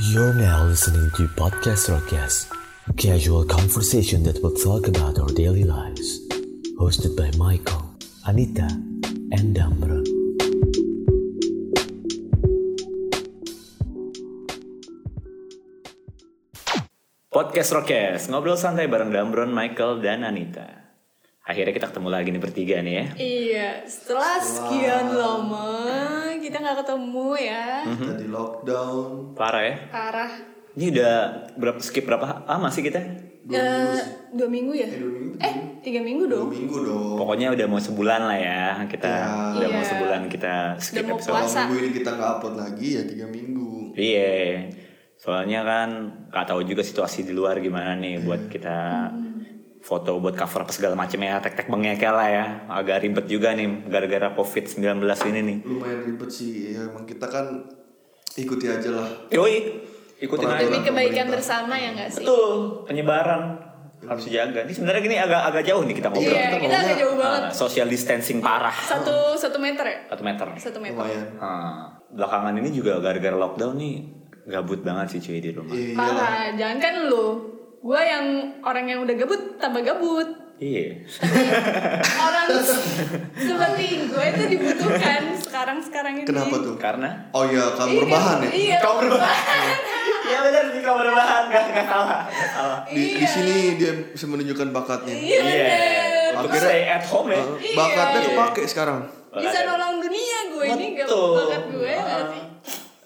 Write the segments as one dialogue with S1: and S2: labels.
S1: You're now listening to Podcast Rockcast, a casual conversation that will talk about our daily lives. Hosted by Michael, Anita, and Damron.
S2: Podcast Rockcast, ngobrol santai bareng Damron, Michael, dan Anita. Akhirnya kita ketemu lagi nih bertiga nih ya.
S3: Iya, setelah sekian lama kita nggak ketemu ya.
S4: kita di lockdown
S2: Parah ya.
S3: Parah.
S2: Ini udah berapa, skip berapa lama sih kita?
S3: Dua, Eh, dua minggu ya?
S4: dua minggu.
S3: Eh, tiga minggu
S4: Iya. dua
S3: dong.
S4: minggu dong
S2: Pokoknya udah mau sebulan lah ya. Kita
S4: Iya.
S2: udah mau
S3: Iya.
S2: sebulan kita skip
S3: Udah mau
S2: episode.
S4: kalau
S3: puasa.
S4: minggu ini kita nggak upload lagi ya tiga minggu
S2: Iya. Soalnya kan nggak tahu juga situasi di luar gimana nih buat kita foto buat cover apa segala macam ya tek-tek bengeknya lah ya agak ribet juga nih gara-gara covid-19 ini nih
S4: lumayan ribet sih ya, emang kita kan ikuti aja lah
S2: yoi ikutin aja
S3: Demi
S4: Peraturan
S3: kebaikan
S4: pemerintah.
S3: bersama ya nggak sih?
S2: Betul, penyebaran harus dijaga. Ini sebenarnya gini agak agak jauh nih kita ngobrol.
S3: Iya,
S4: kita Nah.
S3: kita agak
S4: ngomongnya-
S3: jauh banget.
S2: Ah, social distancing parah.
S3: Satu satu meter ya?
S2: Satu meter.
S3: Satu meter.
S4: lumayan
S2: Ah, belakangan ini juga gara-gara lockdown nih gabut banget sih cuy di rumah.
S4: iya iyalah.
S3: Parah. Jangan kan lu. Gua yang orang yang udah gabut tambah gabut.
S2: Iya.
S3: Orang seperti gue itu dibutuhkan sekarang-sekarang ini.
S4: kenapa tuh
S2: Karena
S4: oh iya kamu
S3: Iya,
S4: rebahan ya
S3: Iya.
S2: Kamu berbahan. Iya benar di kamar berbahan nggak nggak salah. nggak salah.
S4: di, di sini dia bisa menunjukkan bakatnya
S3: Iya. bener.
S2: Untuk
S4: Akhirnya-
S2: stay at home ya.
S4: Eh, bakatnya kepake sekarang
S3: Bisa nolong dunia gue ini gak
S2: Betul.
S3: banget gue gak sih?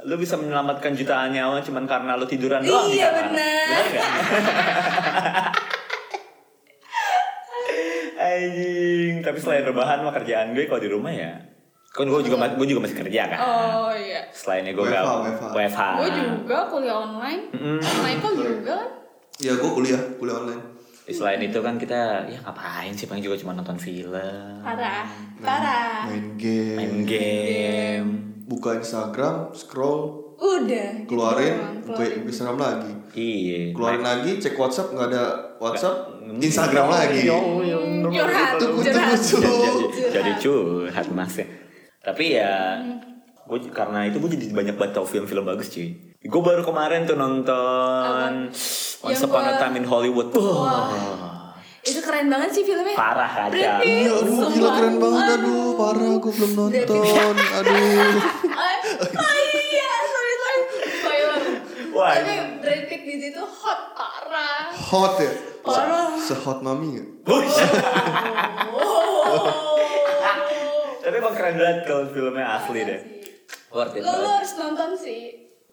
S2: Lu bisa menyelamatkan jutaan nyawa cuman karena lu tiduran doang. di
S3: Iya,
S2: kamar.
S3: benar.
S2: Benar nggak? Anjing, tapi selain rebahan mah kerjaan gue kalau di rumah ya. Kan gue juga ma- gue juga masih kerja kan.
S3: Oh iya.
S2: Selain gue
S4: WFH,
S2: gak
S4: WFH.
S2: WFH.
S3: Gue juga kuliah online. Michael juga.
S4: ya gue kuliah kuliah online
S2: Selain itu kan kita ya ngapain sih paling juga cuma nonton film,
S3: kan? Parah. Parah.
S4: main game
S2: main game.
S4: buka Instagram scroll
S3: Udah. Gitu
S4: keluarin
S3: Doang,
S4: buka Instagram lagi
S2: Iya.
S4: keluarin lagi cek WhatsApp nggak ada WhatsApp Instagram
S3: Ya
S4: lagi
S2: Iya.
S3: keluarin. Curhat.
S4: Tunggu,
S3: Curhat.
S4: tunggu,
S2: jadi,
S3: ya.
S4: tunggu.
S2: jadi, jadi curhat mas ya. Tapi ya, gue karena itu gue jadi banyak banget tau film-film bagus cuy. Gue baru kemarin tuh nonton Once
S3: Yang
S2: Upon a
S3: gua-
S2: Time in Hollywood. Wah,
S3: Itu keren banget sih filmnya.
S2: parah
S3: Brad
S2: aja.
S3: Pitt.
S4: Iya, aduh gila
S3: Sumpah.
S4: keren banget
S3: Aduh.
S4: aduh parah gue belum nonton aduh
S3: Eh, Oh iya, sorry sorry. Spoiler.
S2: Wah.
S3: Tapi Brad Pitt di situ hot parah.
S4: hot ya
S3: Parah.
S4: sehot mami ya
S2: Bush.
S3: Oh.
S2: Tapi emang keren banget kalau filmnya asli deh. Worth it
S3: Lo, lo
S2: banget.
S3: harus nonton sih.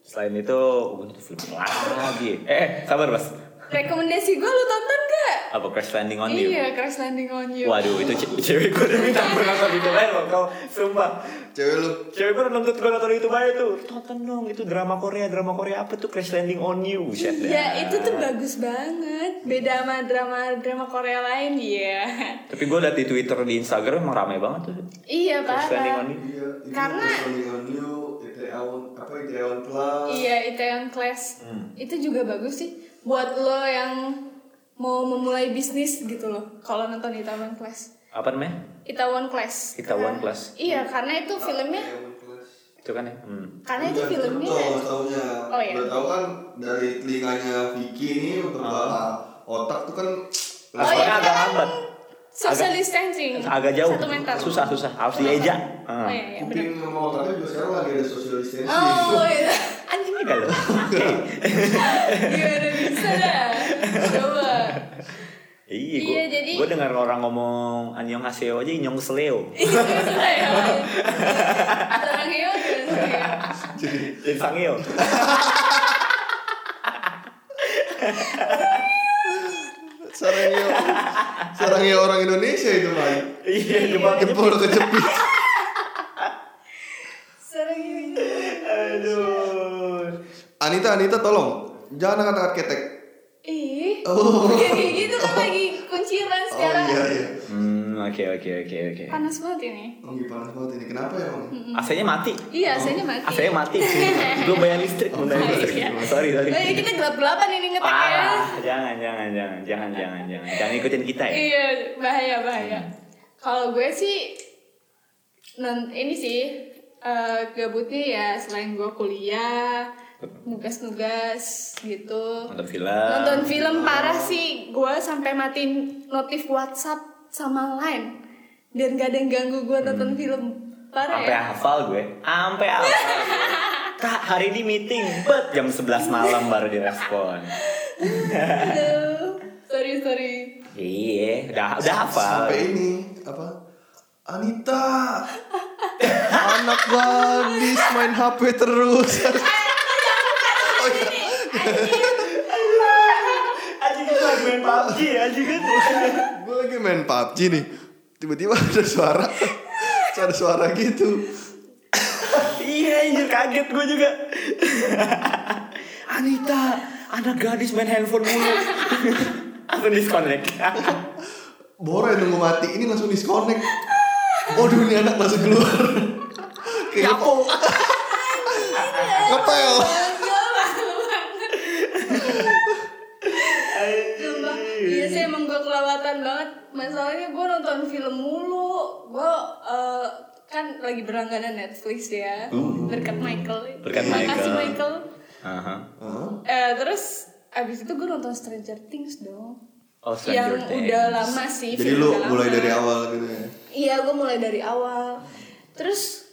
S2: Selain itu, gue nonton film apa lagi. Eh, sabar mas.
S3: Rekomendasi gue lo tonton gak?
S2: Apa Crash Landing on You?
S3: Iya, Crash Landing on You.
S2: Waduh, itu ce- cewek gue udah minta gue nonton itu aja loh, kau sumpah.
S4: cewek lu
S2: Cewek gue nonton gue nonton itu aja tuh. Tonton dong, itu drama Korea, drama Korea apa tuh Crash Landing on You? Buset dah.
S3: Iya, itu tuh bagus banget. Beda sama drama-drama Korea lain ya.
S2: Tapi gue liat di Twitter, di Instagram emang rame banget tuh.
S3: iya,
S2: Crash Landing on You.
S3: parah.
S4: iya ini
S3: Karena-
S4: Rolling on you Itaewon apa Itaewon Class
S3: Iya, itu yang class.
S2: Hmm.
S3: Itu juga bagus sih buat lo yang mau memulai bisnis gitu loh. Kalau nonton Itaewon Class.
S2: Apa namanya?
S3: Itaewon Class.
S2: Itaewon
S3: Karena-
S2: Class.
S3: Iya, karena itu filmnya
S4: Itaewon Class.
S2: Itu kan ya? Hmm.
S3: karena itu
S4: Bukan
S3: filmnya ya?
S4: Tonton taunya
S3: Oh, iya.
S4: udah tahu kan dari telinganya Vicky ini untuk ah. otak tuh kan
S3: Oh, iya,
S2: Asalnya agak
S3: kan?
S2: lambat.
S3: social distancing.
S2: Agak jauh.
S3: Iya, Satu meter.
S2: Susah, susah. Harus dieja. Hmm.
S3: Oh iya, iya benar.
S4: kuping sama otaknya juga sekarang lagi ada social distancing
S3: Oh, iya.
S2: Anjing nih kalau.
S3: Gimana Iya, bisa dah? Coba.
S2: Iya, gue
S3: Iya, jadi-
S2: gue dengar orang ngomong Anyong Haseo aja Inyong Seleo.
S3: Itu sudah ya. Terang ya,
S2: Jadi sangeo.
S4: sarangnya sarangnya orang Indonesia itu main
S2: Iya, cuma
S4: jempol kejepit
S3: Serang ya.
S2: aduh.
S4: Anita Anita tolong jangan angkat-angkat ketek
S3: Ih. Kayak gitu kan lagi kunciran
S4: oh
S3: sekarang.
S4: iya iya
S2: Hmm, oke oke oke oke.
S3: Panas banget ini.
S4: Oh, iya, panas banget ini. Kenapa ya, Bang?
S2: AC-nya mati.
S3: Iya, AC-nya mati.
S2: AC-nya Ah, mati. Gue bayar listrik, mau bayar listrik.
S3: iya.
S2: Sorry, sorry.
S3: Lagi kita gelap-gelapan ini ngetek ya.
S2: Parah. Jangan, jangan, jangan, jangan, jangan, jangan. Jangan ikutin kita ya.
S3: Iya, bahaya bahaya. Kalau gue sih non ini sih eh, gabutnya ya selain gue kuliah, nugas-nugas gitu
S2: Nonton film.
S3: nonton film parah sih gue sampai matiin notif WhatsApp sama lain biar gak ada yang ganggu gue nonton
S2: Hmm.
S3: film parah
S2: Sampai
S3: ya
S2: hafal gue. Sampai hafal. gue. Kak, hari ini meeting, bet jam 11 malam baru direspon.
S3: Aduh, sorry sorry
S2: Iya, udah udah hafal.
S4: Sampai ini apa? Anita, anak gadis main HP terus. oh iya,
S2: Anjing itu lagi main PUBG, kan? anjing itu.
S4: gue lagi main PUBG nih. Tiba-tiba ada suara, ada suara gitu.
S2: Iya, anjir kaget gue juga. Anita, anak gadis main handphone mulu. Langsung disconnect.
S4: Boro yang nunggu mati ini langsung disconnect. Waduh ini anak langsung keluar.
S2: Ya
S4: Kayak ngepel.
S3: Sumpah, iya sih emang gue kelewatan banget Masalahnya gue nonton film mulu Gue eh, kan lagi berlangganan Netflix ya Berkat Michael
S2: Hmm. Berkat
S3: Makasih
S2: Michael.
S3: Michael
S2: Aha.
S4: Hah?
S3: Eh, Terus abis itu gue nonton Stranger Things dong
S2: Oh,
S3: Yang
S2: Stranger Things.
S3: udah lama sih
S4: Jadi
S3: film
S4: lu
S3: udah
S4: mulai
S3: lama.
S4: dari awal gitu ya.
S3: Iya, gue mulai dari awal. Terus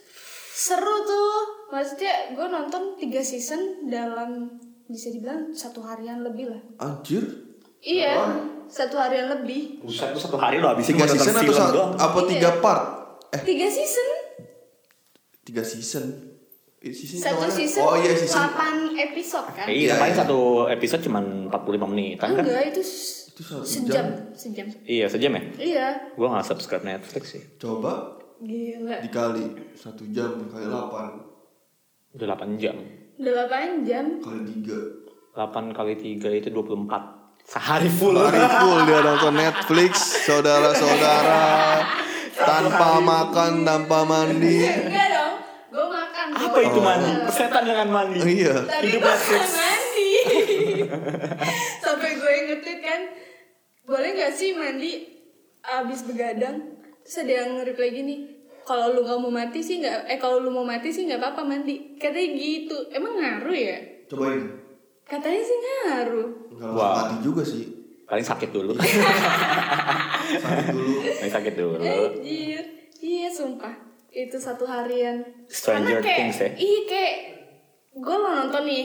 S3: seru tuh, maksudnya gue nonton tiga season dalam bisa dibilang satu harian lebih lah.
S4: Anjir.
S3: Iya, satu harian lebih.
S2: Satu, satu hari lo habisin
S4: Tiga
S2: nonton
S4: season atau
S2: film
S4: sa-
S2: doang.
S4: apa
S3: Iya.
S4: tiga part? Eh
S3: Tiga season,
S4: tiga season. Eh, season
S3: satu
S4: yang mana?
S3: season,
S4: Oh iya season.
S3: 8 episode kan?
S2: Iya,
S4: Iya,
S2: paling
S4: iya.
S2: satu episode cuma 45 menit kan?
S3: Enggak, itu, s-
S4: Itu satu
S3: sejam, sejam.
S2: Iya, sejam ya?
S3: Iya,
S2: Gue gak subscribe Netflix sih.
S4: Coba
S3: gila.
S4: dikali satu jam kali delapan
S2: Udah 8 jam.
S3: Delapan jam.
S4: kali tiga.
S2: 8 kali 3 itu 24. Sehari full.
S4: Hari full dia nonton Netflix, saudara-saudara tanpa makan, tanpa mandi.
S3: Enggak dong, gue makan.
S2: Apa
S3: dong.
S2: itu mandi?
S3: Iya.
S2: Persetan dengan mandi.
S4: Iya.
S3: Tadi
S2: Hidup
S3: gue
S2: Netflix.
S3: mandi Sampai gue nge-tweet kan Boleh gak sih mandi Abis begadang Terus ada yang nge-reply gini kalau lu gak mau mati sih nggak eh kalau lu mau mati sih nggak apa-apa mandi katanya gitu emang ngaruh ya
S4: Cobain.
S3: katanya sih ngaruh
S4: Enggak
S2: Wah.
S4: langsung mati juga sih.
S2: Paling sakit dulu.
S4: Sakit dulu.
S2: Paling sakit dulu.
S4: Eh,
S3: anjir iya sumpah itu satu harian
S2: Stranger
S3: Karena kayak,
S2: Things ya?
S3: Iya kayak gue mau nonton nih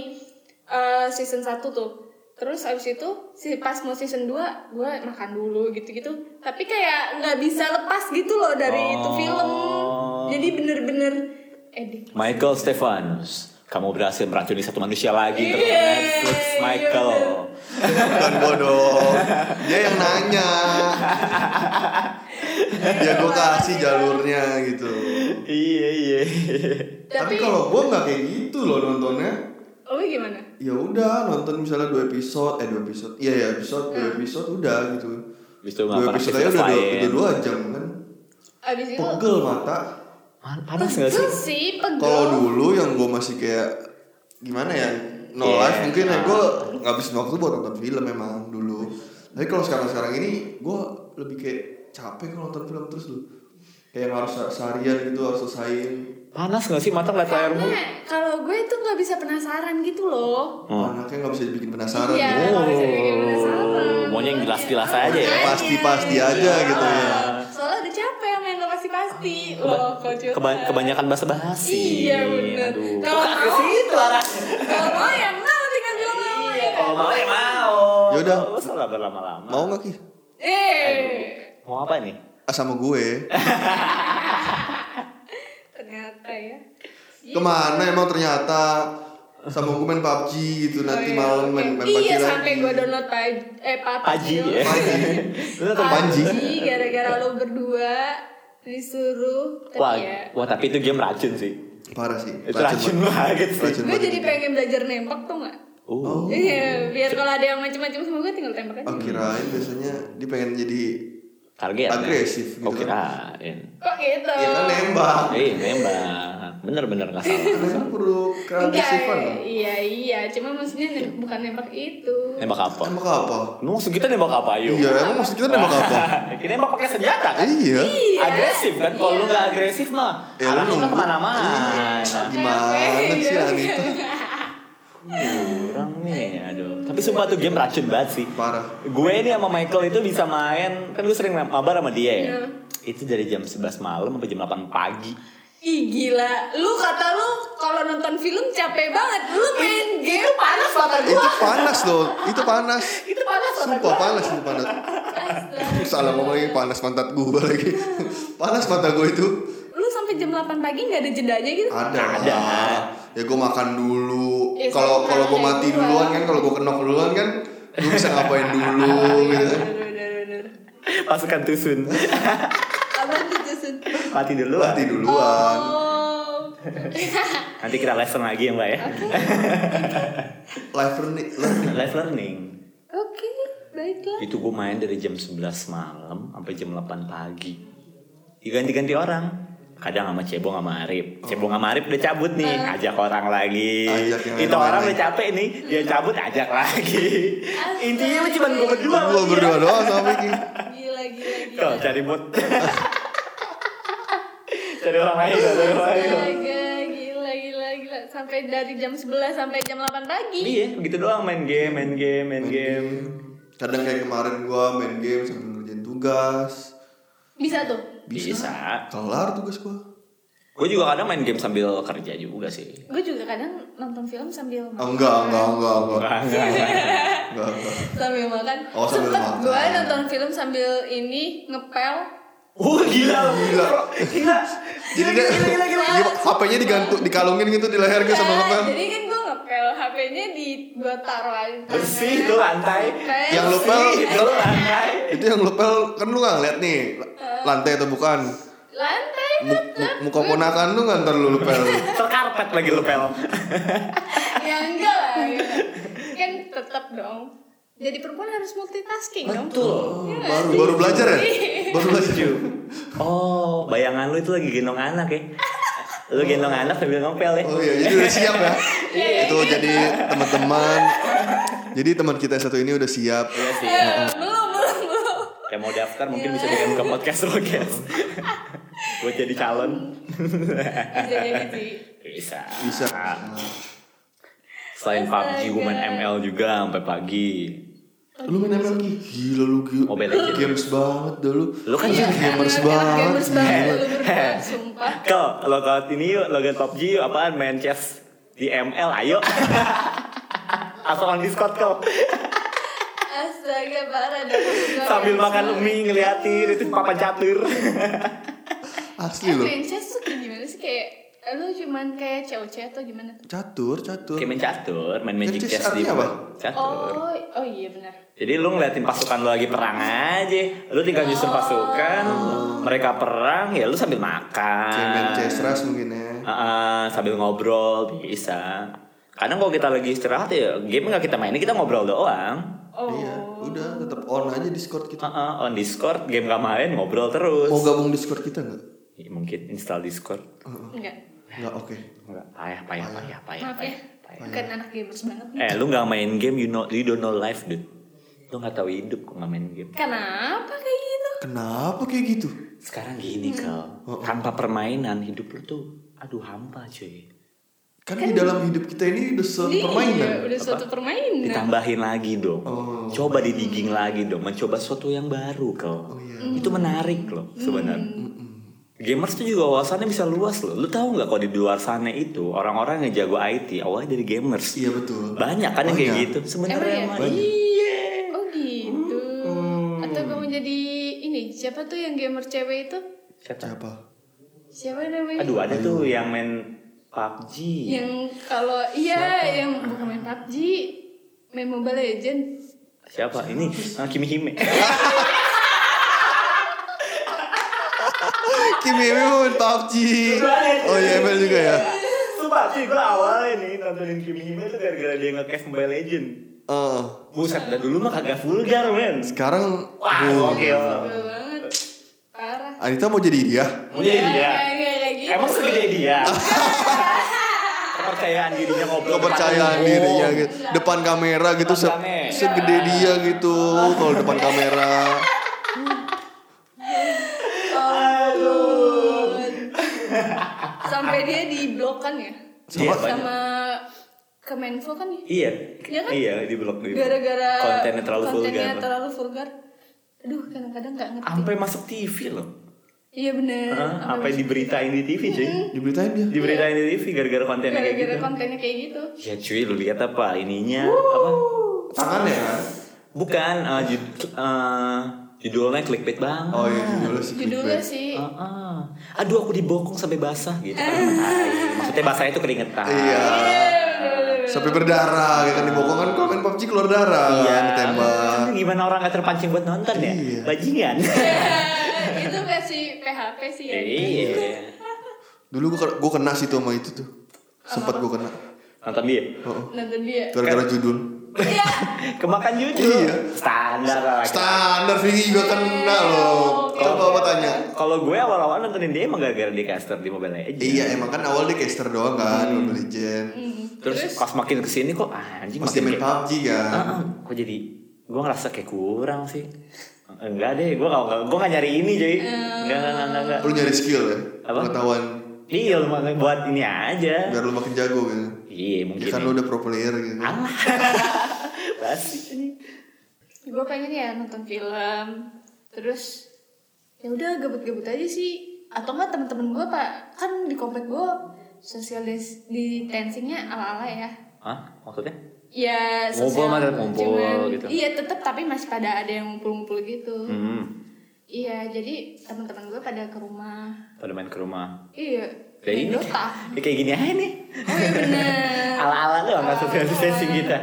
S3: eh, season 1 tuh. Terus abis itu si pas mau season 2 gue makan dulu gitu-gitu. Tapi kayak nggak bisa lepas gitu loh dari itu
S4: Oh.
S3: film. Jadi bener-bener eh di-
S2: Michael Stephens. Kamu berhasil meracuni satu manusia lagi.
S3: Iya,
S2: terus Netflix,
S3: iya
S2: Michael.
S3: bener.
S4: Bukan bodoh. Dia yang nanya. Ya gue kasih jalurnya gitu.
S2: Iya, iya.
S3: Tapi,
S4: Tapi kalau gue nggak kayak gitu loh nontonnya.
S3: oh lu gimana?
S4: Ya udah nonton misalnya dua episode, eh dua episode, iya ya episode,
S3: Nah.
S4: dua episode udah gitu.
S2: Abis itu
S4: Dua
S2: melakukan
S4: episode aja udah dua,
S2: lain.
S4: udah dua jam kan.
S3: Abis itu
S4: Pegel mata.
S2: Man- Panas gak sih?
S3: Pegel sih, pegel.
S4: Kalau dulu yang gue masih kayak gimana ya no
S2: Iya.
S4: life mungkin ya gue ngabisin waktu buat nonton film emang dulu. Tapi kalau sekarang sekarang ini gue lebih kayak capek kalau nonton film terus loh. Kayak yang harus seharian gitu harus selesaiin.
S2: Panas gak sih mata ngeliat layarmu?
S3: Karena kalau gue itu nggak bisa penasaran gitu loh.
S2: Oh.
S4: Anaknya nggak bisa dibikin penasaran.
S3: Iya,
S4: gitu.
S3: nggak bisa bikin penasaran.
S2: Oh, maunya yang jelas-jelas aja ya?
S4: Kayak pasti-pasti aja gitu ya.
S3: Iya. Soalnya udah capek sama yang lo pasti-pasti Loh, kok curhat
S2: Keba- kebanyakan basa-basi.
S3: Iya bener
S2: Aduh.
S3: Kalau
S2: Ke
S3: mau
S2: situ arah.
S3: Kalau mau ya mau tinggal bilang mau ya kan?
S2: Kalau mau ya mau.
S4: Yaudah.
S2: Lu salah berlama-lama.
S4: Mau nggak ki?
S3: Eh
S2: Mau apa nih?
S4: Ah, sama gue.
S3: Ternyata ya
S4: Kemana emang ternyata sama gue main PUBG gitu nanti malam main, main PUBG
S3: Oh, Iya
S4: lagi.
S3: sampai gue download Paj- eh, PUBG
S2: Aji ya. Lu nonton
S4: Panji.
S3: Panji Gara-gara lo berdua Disuruh Tapi
S2: Wah,
S3: ya
S2: wah tapi itu game racun sih.
S4: Parah sih.
S2: Itu racun banget
S4: banget.
S2: sih.
S4: Racun
S3: Gue
S4: banget.
S3: jadi pengen belajar nembak tuh gak?
S2: Uh,
S3: Iya, biar kalau ada yang macam-macam sama gue tinggal tembak aja.
S4: Oh, kirain biasanya dia pengen jadi
S2: target.
S4: Agresif gitu
S2: Oh
S4: kan.
S2: kirain.
S3: Kok gitu?
S4: ya kan nembak.
S2: Eh, nembak. Bener-bener nggak salah.
S4: Kenapa perlu keagresifan?
S3: Enggak, iya iya, cuma maksudnya nem- bukan nembak itu.
S2: Nembak apa?
S4: Nembak apa?
S2: Lu maksud kita nembak apa yuk?
S4: Iya, emang maksud kita nembak apa?
S2: Kita nembak pakai senjata kan?
S4: Iya.
S2: Agresif kan? Kalau lu nggak agresif mah,
S4: Ya, lu
S2: arahnya Nah,
S4: nunggu. Iya.
S2: kemana-mana.
S4: Gimana
S3: Oke, oke,
S4: sih
S3: oke.
S4: Anita?
S2: kurang nih aduh tapi sumpah tuh game racun banget sih
S4: Parah.
S2: gue ini sama Michael itu bisa main kan gue sering mabar sama dia ya
S3: Iya.
S2: itu dari jam 11 malam sampai jam 8 pagi
S3: Ih gila, lu kata lu kalau nonton film capek banget, lu main game panas banget
S4: Itu panas loh, itu panas.
S3: Itu panas banget.
S4: Sumpah panas itu panas. Salah ngomong lagi panas pantat gua lagi. panas pantat gua itu.
S3: Lu sampai jam 8 pagi nggak ada jedanya gitu?
S4: Ada.
S2: Ada.
S4: Ya gua makan dulu.
S3: Ya,
S4: Kalau
S3: sama
S4: kalau gua
S3: kayak
S4: mati
S3: gua.
S4: duluan kan, kalau gua kenok duluan kan, gua bisa ngapain dulu gitu. kan.
S3: Bener, bener, bener.
S2: pasukan tusun
S3: Abang tuh Jason.
S2: mati dulu lah.
S4: Mati duluan.
S3: Oh.
S2: nanti kita lesson lagi ya mbak ya
S4: Live learning, learning.
S2: live learning
S3: Oke, baiklah.
S2: Itu gue main dari jam 11 malam sampai jam 8 pagi. Diganti-ganti orang. Kadang sama Cebong sama Arif. Cebong sama Arif udah cabut nih, ajak orang lagi.
S4: Oh. Ajak yang
S2: Itu
S4: lain-lain
S2: orang
S4: lagi. Iya.
S2: udah capek nih, dia cabut ajak lagi. Intinya cuma gue berdua. sama
S4: Gua
S2: dia.
S4: berdua doang sama Vicky.
S3: Gila, gila, gila.
S2: Tuh, cari mood. cari orang lain, cari orang lain.
S3: Astaga, gila, gila, gila. Sampai dari jam 11 sampai jam 8 pagi.
S2: Iya, begitu doang main game, main game, main game.
S4: Kadang kayak kemarin gua main game sambil ngerjain tugas.
S3: Bisa tuh.
S2: Bisa.
S4: Kelar tugas gua.
S2: Gue juga kadang main game sambil kerja juga sih.
S3: Gue juga kadang nonton film sambil
S4: Ah,
S3: makan.
S4: enggak, enggak, enggak, enggak. Enggak, enggak.
S3: Sambil makan.
S4: Oh, sambil
S3: Sempet
S4: makan.
S3: gue nonton film sambil ini ngepel.
S2: Wah Oh, gila,
S4: Gila.
S2: gila,
S4: Jadi dia dia HP-nya digantung, dikalungin gitu di leher gitu sama
S3: Nah,
S4: ngepel.
S3: Jadi kan gue ngepel HP-nya di gue taruhin tangan.
S2: Bersih tuh lantai.
S3: Ngepel.
S4: Yang lupa
S2: Bersih tuh lantai.
S4: Itu yang ngepel kan lu nggak ngeliat nih
S3: Eh.
S4: lantai atau bukan.
S3: Lantai
S4: Mu- mu- Muka ponakan lu nggak ntar lu ngepel.
S2: Terkarpet lagi lu pel.
S3: ya enggak lah ya. kan tetap dong jadi perempuan harus multitasking dong
S4: Oh, baru baru belajar ya? Baru belajar.
S2: Oh, bayangan lu itu lagi gendong anak ya. Lu gendong anak sambil ngepel ya.
S4: Oh iya, jadi udah siap ya.
S3: Iya, iya,
S4: Itu jadi teman-teman. Jadi teman kita yang satu ini udah siap.
S2: Iya sih.
S3: Eh, belum belum belum
S2: Kayak mau daftar mungkin bisa dikirim ke podcast lo guys. Buat jadi calon.
S3: bisa jadi sih
S2: Bisa.
S4: Bisa.
S2: Selain PUBG, gue main
S3: Astaga.
S2: ML juga sampai pagi.
S4: Lu main ML Ki? gila lu gila.
S2: Mobile Legends.
S4: Games banget dah lu. Iya,
S2: Lu kan juga
S4: gamers
S3: Anak- anak Iya,
S4: banget. Iya.
S3: gamers banget lu berdua
S2: Heh.
S3: sumpah
S2: Kel, logout ini yuk, logout PUBG yuk, apaan main chess di ML, ayo. Atau on Discord kel,
S3: astaga parah Iya. dah
S2: sambil makan mie ngeliatin itu papan catur.
S4: Asli
S3: eh
S4: lu.
S3: princess tuh kayak gimana sih kayak eh, lu cuman kayak COC atau gimana
S4: Catur, catur.
S2: Kayak main catur, main magic
S4: Chess
S2: chess di
S4: artinya apa?
S2: catur.
S3: oh oh iya benar
S2: Jadi lu ngeliatin pasukan lu lagi perang aja, lu tinggal nyusun
S4: Oh.
S2: pasukan, mereka perang ya lu sambil
S4: Kayak main
S2: makan.
S4: chess rush mungkin ya.
S2: Heeh, sambil ngobrol bisa. Kadang kalau kita lagi istirahat ya game nggak kita mainin kita ngobrol doang.
S3: oh
S4: Iya, udah tetap on aja Discord kita.
S2: Heeh, on Discord game gak main ngobrol terus.
S4: Mau gabung Discord kita nggak?
S2: Ya, mungkin install Discord.
S3: enggak
S4: Nggak, oke.
S2: Enggak, payah, payah, payah, payah,
S3: maaf
S2: payah,
S3: ya
S4: Oh,
S2: payah.
S3: bukan
S4: iya.
S3: anak gamers banget nih.
S2: Eh, lu nggak main game, you know, you don't know life, dude. Lu nggak tahu hidup kalau nggak main game.
S3: kenapa kayak gitu
S4: Kenapa kayak gitu?
S2: Sekarang gini
S3: Hmm.
S2: kal, tanpa permainan hidup lu tuh, aduh hampa cuy.
S4: Kan, di dalam hidup kita ini udah suatu
S3: Iya,
S4: permainan.
S3: udah suatu permainan
S2: Ditambahin lagi dong, coba didigging lagi dong, mencoba sesuatu yang baru kal. Itu menarik
S3: Hmm.
S2: loh sebenarnya. Gamers tuh juga wawasannya bisa luas loh. Lu tahu nggak kalau di luar sana itu orang-orang yang jago IT awalnya dari gamers.
S4: Iya betul.
S2: banyak kan yang kayak
S4: Banyak.
S2: gitu sebenarnya
S3: Emang ya?
S2: mah
S4: Banyak.
S2: iya
S3: Oh gitu.
S4: Hmm.
S3: Atau kamu jadi ini siapa tuh yang gamer cewek itu?
S2: Siapa?
S4: Siapa?
S3: Siapa namanya?
S2: aduh ada tuh yang main PUBG
S3: Yang kalau iya yang bukan main PUBG, main Mobile Legend.
S2: siapa ini ah, Kimi Hime
S4: Kim Hemi mau main PUBG. Oh iya, ML juga ya.
S2: Sumpah sih gue awalnya nih nontonin Kimi Hime tuh gara-gara dia nge-cast Mobile Legend
S4: Eh,
S2: Buset, dan dulu mah kagak vulgar men
S4: sekarang
S2: Wah,
S4: Bu,
S2: gokil
S3: Gila banget. Parah.
S4: Anita mau jadi dia.
S2: Iya, iya
S3: Kayak- kayak- kayak gitu.
S2: Emang segede dia Kepercayaan dirinya ngobrol
S4: Kepercayaan
S2: depan
S4: dirinya
S2: umum.
S4: gitu. Depan kamera gitu se-
S2: Makanya.
S4: segede dia gitu kalau depan kamera.
S3: Sampai dia di blok kan ya?
S2: Sama-
S3: Sama Kemenfo kan ya?
S2: Iya,
S3: Iya kan?
S2: iya di blok di blok.
S3: Gara-gara
S2: kontennya terlalu
S3: kontennya
S2: vulgar.
S3: terlalu vulgar. Aduh, kadang-kadang nggak ngerti.
S2: Sampai masuk TV loh.
S3: Iya bener.
S2: Hah?
S3: Sampai
S2: Sampai diberitain di TV cuy.
S4: Diberitain dia.
S2: Diberitain di TV gara-gara kontennya kayak
S3: Gara-gara
S2: gitu.
S3: kontennya kayak gitu.
S2: Ya cuy, lu lihat apa ininya apa?
S4: Tangannya kan.
S2: Bukan eh, jud- eh, judulnya clickbait banget.
S4: Oh iya, judulnya sih.
S3: Judulnya sih.
S2: Ah, ah. Aduh aku dibokong sampai basah gitu. Ah, Maksudnya basah itu keringetan.
S4: Iya. Sampai berdarah gitu kan dibokong kan kalau main PUBG keluar darah kan ditembak.
S2: Iya. Aduh, Gimana orang gak terpancing buat nonton ya?
S4: Iya.
S2: Bajingan.
S3: Eh. itu versi PHP sih ya.
S2: iya.
S4: Dulu gua ke- gua kena sih tuh sama itu tuh. Sempat gua kena.
S2: Nonton dia.
S4: Oh,
S3: Nonton dia.
S4: gara-gara judul.
S3: Iya.
S2: Kemakan jujur.
S4: Iya.
S2: Standar lah.
S4: Standar Vicky juga
S2: Iya,
S4: kena loh. Coba apa tanya?
S2: Kalau gue awal-awal nontonin dia emang gara-gara dia caster di Mobile Legends.
S4: Iya, emang kan awal dia caster doang kan,
S2: Hmm.
S4: Mobile Legend.
S2: Terus, pas makin kesini kok ah, anjing
S4: Pas dia main
S2: kayak-
S4: PUBG kan.
S2: Ah, ah. kok jadi gue ngerasa kayak kurang sih. Enggak deh, gue gak, gue gak nyari ini
S3: Oh.
S2: jadi. Enggak, enggak, enggak, enggak.
S4: Lu nyari skill ya,
S2: Ah. Apa?
S4: pengetahuan
S2: Iya, lu mah buat ini aja.
S4: biar lu makin jago gitu.
S2: Iya, mungkin.
S4: Ya kan lu udah pro player gitu.
S2: Alah. Basi ini.
S3: Gue pengen ya nonton film. Terus ya udah gabut-gabut aja sih. Atau nggak temen-temen gue pak kan di komplek gue social dis- distancingnya ala-ala ya.
S2: Hah? Maksudnya?
S3: Ya
S2: Ngumpul
S3: sosial
S2: mah tetap ngumpul
S3: cuman-
S2: gitu.
S3: Iya tetap tapi masih pada ada yang ngumpul-ngumpul gitu.
S2: Hmm.
S3: Iya jadi teman-teman gue pada ke rumah.
S2: Pada main ke rumah.
S3: Iya.
S2: Ya ini.
S3: main Dota.
S2: Ya kayak gini aja nih.
S3: Oh iya benar.
S2: Ala-ala doang nggak social distancing kita.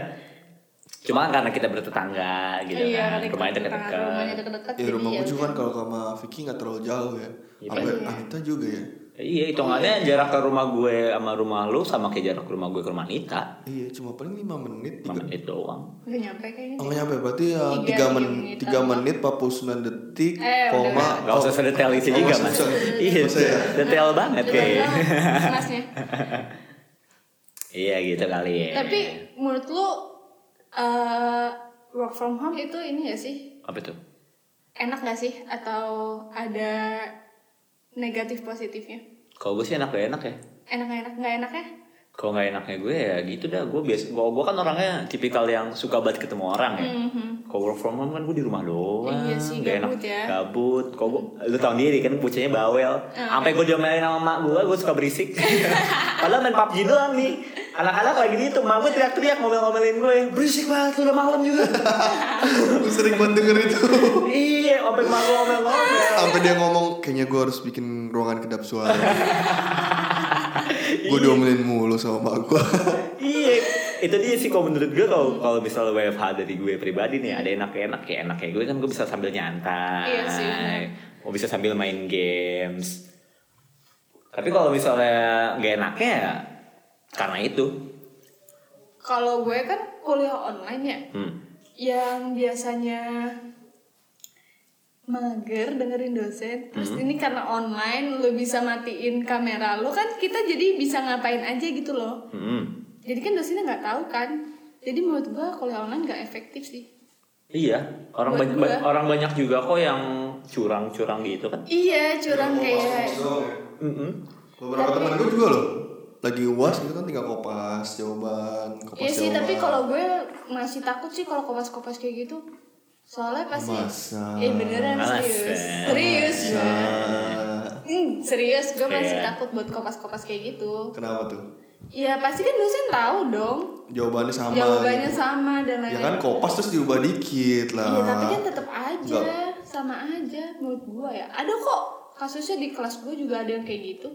S2: Cuma karena kita bertetangga gitu
S3: Iya,
S2: kan.
S3: karena
S2: Rumahnya
S3: kita tetangga, Rumahnya
S2: dekat-dekat.
S3: deket-deket. gitu.
S4: Ya
S3: jadi
S4: rumah gue juga kan
S3: udah.
S4: kalau sama Vicky gak terlalu jauh ya.
S2: Iya,
S4: Sampai Anita juga ya.
S2: Iya, hitungannya jarak ke rumah gue sama rumah lu sama kayak jarak rumah gue ke rumah Nita.
S4: Iya cuma paling 5 menit.
S2: 5 menit doang.
S3: Udah nyampe kayaknya.
S4: Gitu. Oh nyampe berarti ya
S3: Tiga,
S4: 3
S3: tiga
S4: menit,
S3: menitan.
S4: 3 menit 49 detik,
S3: Eh,
S4: koma.
S3: udah.
S2: Gak usah sedetail itu
S4: oh,
S2: juga,
S4: nggak
S2: Mas.
S4: usah.
S2: Iya,
S4: Nggak usah ya.
S2: detail banget
S3: Coba
S2: kayaknya.
S3: dong, Masnya.
S2: Iya gitu kali ya.
S3: Tapi menurut lu eh, work from home itu ini gak sih?
S2: apa tuh?
S3: Enak gak sih? Atau ada negatif positifnya?
S2: Kalau gue sih enak gak enak ya.
S3: Enak gak enak? Gak enaknya?
S2: Kalau nggak enaknya gue ya gitu dah. Gue biasa. Gue gue kan orangnya tipikal yang suka banget ketemu orang ya. Kalau work from home kan gue di rumah doang.
S3: Mm-hmm. Iya sih,
S2: nggak
S3: gabut ya.
S2: Gabut. Kalau gue, lu tau sendiri kan bocahnya bawel.
S3: Ah.
S2: Sampai gue diomelin sama mak gue, gue suka berisik. Padahal main PUBG doang nih. Anak-anak lagi di itu, mak gue teriak-teriak ngomel-ngomelin gue. Berisik banget, lu udah malam juga.
S4: Gue sering banget denger itu.
S2: iya, sampai mak gue ngomel-ngomel.
S4: Sampai dia ngomong kayaknya gue harus bikin ruangan kedap suara. gue diomelin mulu sama mak gue.
S2: iya itu dia sih kalau menurut gue kalau kalau misalnya WFH dari gue pribadi nih ada enak enak ya enak kayak gue kan gue bisa sambil nyantai
S3: Iya sih, benar.
S2: mau bisa sambil main games tapi kalau misalnya nggak enaknya ya karena itu
S3: Kalau gue kan kuliah online ya.
S2: hmm.
S3: yang biasanya mager dengerin dosen terus
S2: Hmm.
S3: ini karena online lu bisa matiin kamera lu kan kita jadi bisa ngapain aja gitu loh
S2: Hmm.
S3: jadi kan dosennya nggak tahu kan jadi menurut gua kuliah online nggak efektif sih
S2: iya orang
S3: Buat
S2: banyak
S3: gue.
S2: orang banyak juga kok yang curang-curang gitu kan
S3: iya curang kayak
S2: Mm-mm.
S4: Beberapa teman gue juga loh. Lagi uas gitu kan tinggal kopas jawaban, kopas
S3: iya sih
S4: jawaban.
S3: tapi kalau gue masih takut sih kalau kopas-kopas kayak gitu soalnya pasti
S4: Masa?
S3: eh beneran
S2: Masa?
S3: serius serius gue
S4: Nah,
S3: Hmm, serius gue masih
S2: Iya.
S3: takut buat kopas-kopas kayak gitu
S4: kenapa tuh?
S3: Ya pasti kan dosen tahu dong
S4: Jawabannya sama.
S3: jawabannya
S4: gitu.
S3: sama dan
S4: Ya
S3: lain-lain.
S4: kan kopas terus diubah dikit lah.
S3: Iya tapi kan tetap aja
S4: Enggak.
S3: sama aja menurut gua ya. Ada kok kasusnya di kelas gua juga ada yang kayak gitu.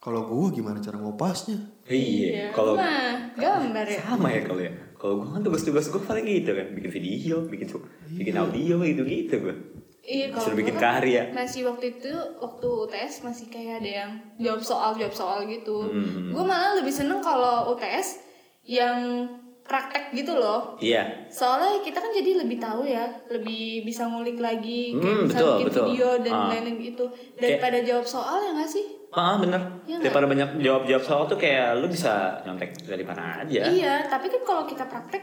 S4: Kalau gue gimana cara ngopasnya?
S2: iya kalau
S3: mah gambar ya.
S2: sama ya kalau ya kalau gue kan tugas-tugas gue paling gitu kan bikin video bikin bikin audio gitu gitu gue
S3: Iya kalau
S2: Disuruh
S3: gua
S2: bikin
S3: kan
S2: karya.
S3: Masih waktu itu waktu UTS masih kayak ada yang jawab soal jawab soal gitu.
S2: Hmm.
S3: Gua malah lebih seneng kalau UTS yang praktek gitu loh.
S2: iya
S3: Soalnya kita kan jadi lebih tahu ya, lebih bisa ngulik lagi, kayak
S2: Hmm,
S3: bisa
S2: betul,
S3: bikin
S2: betul.
S3: video dan
S2: Ah.
S3: lain-lain gitu daripada jawab soal ya nggak sih?
S2: ah bener
S3: Iya nggak?
S2: daripada banyak jawab-jawab soal tuh kayak lu bisa nyontek dari mana aja
S3: Iya, tapi kan kalau kita praktek,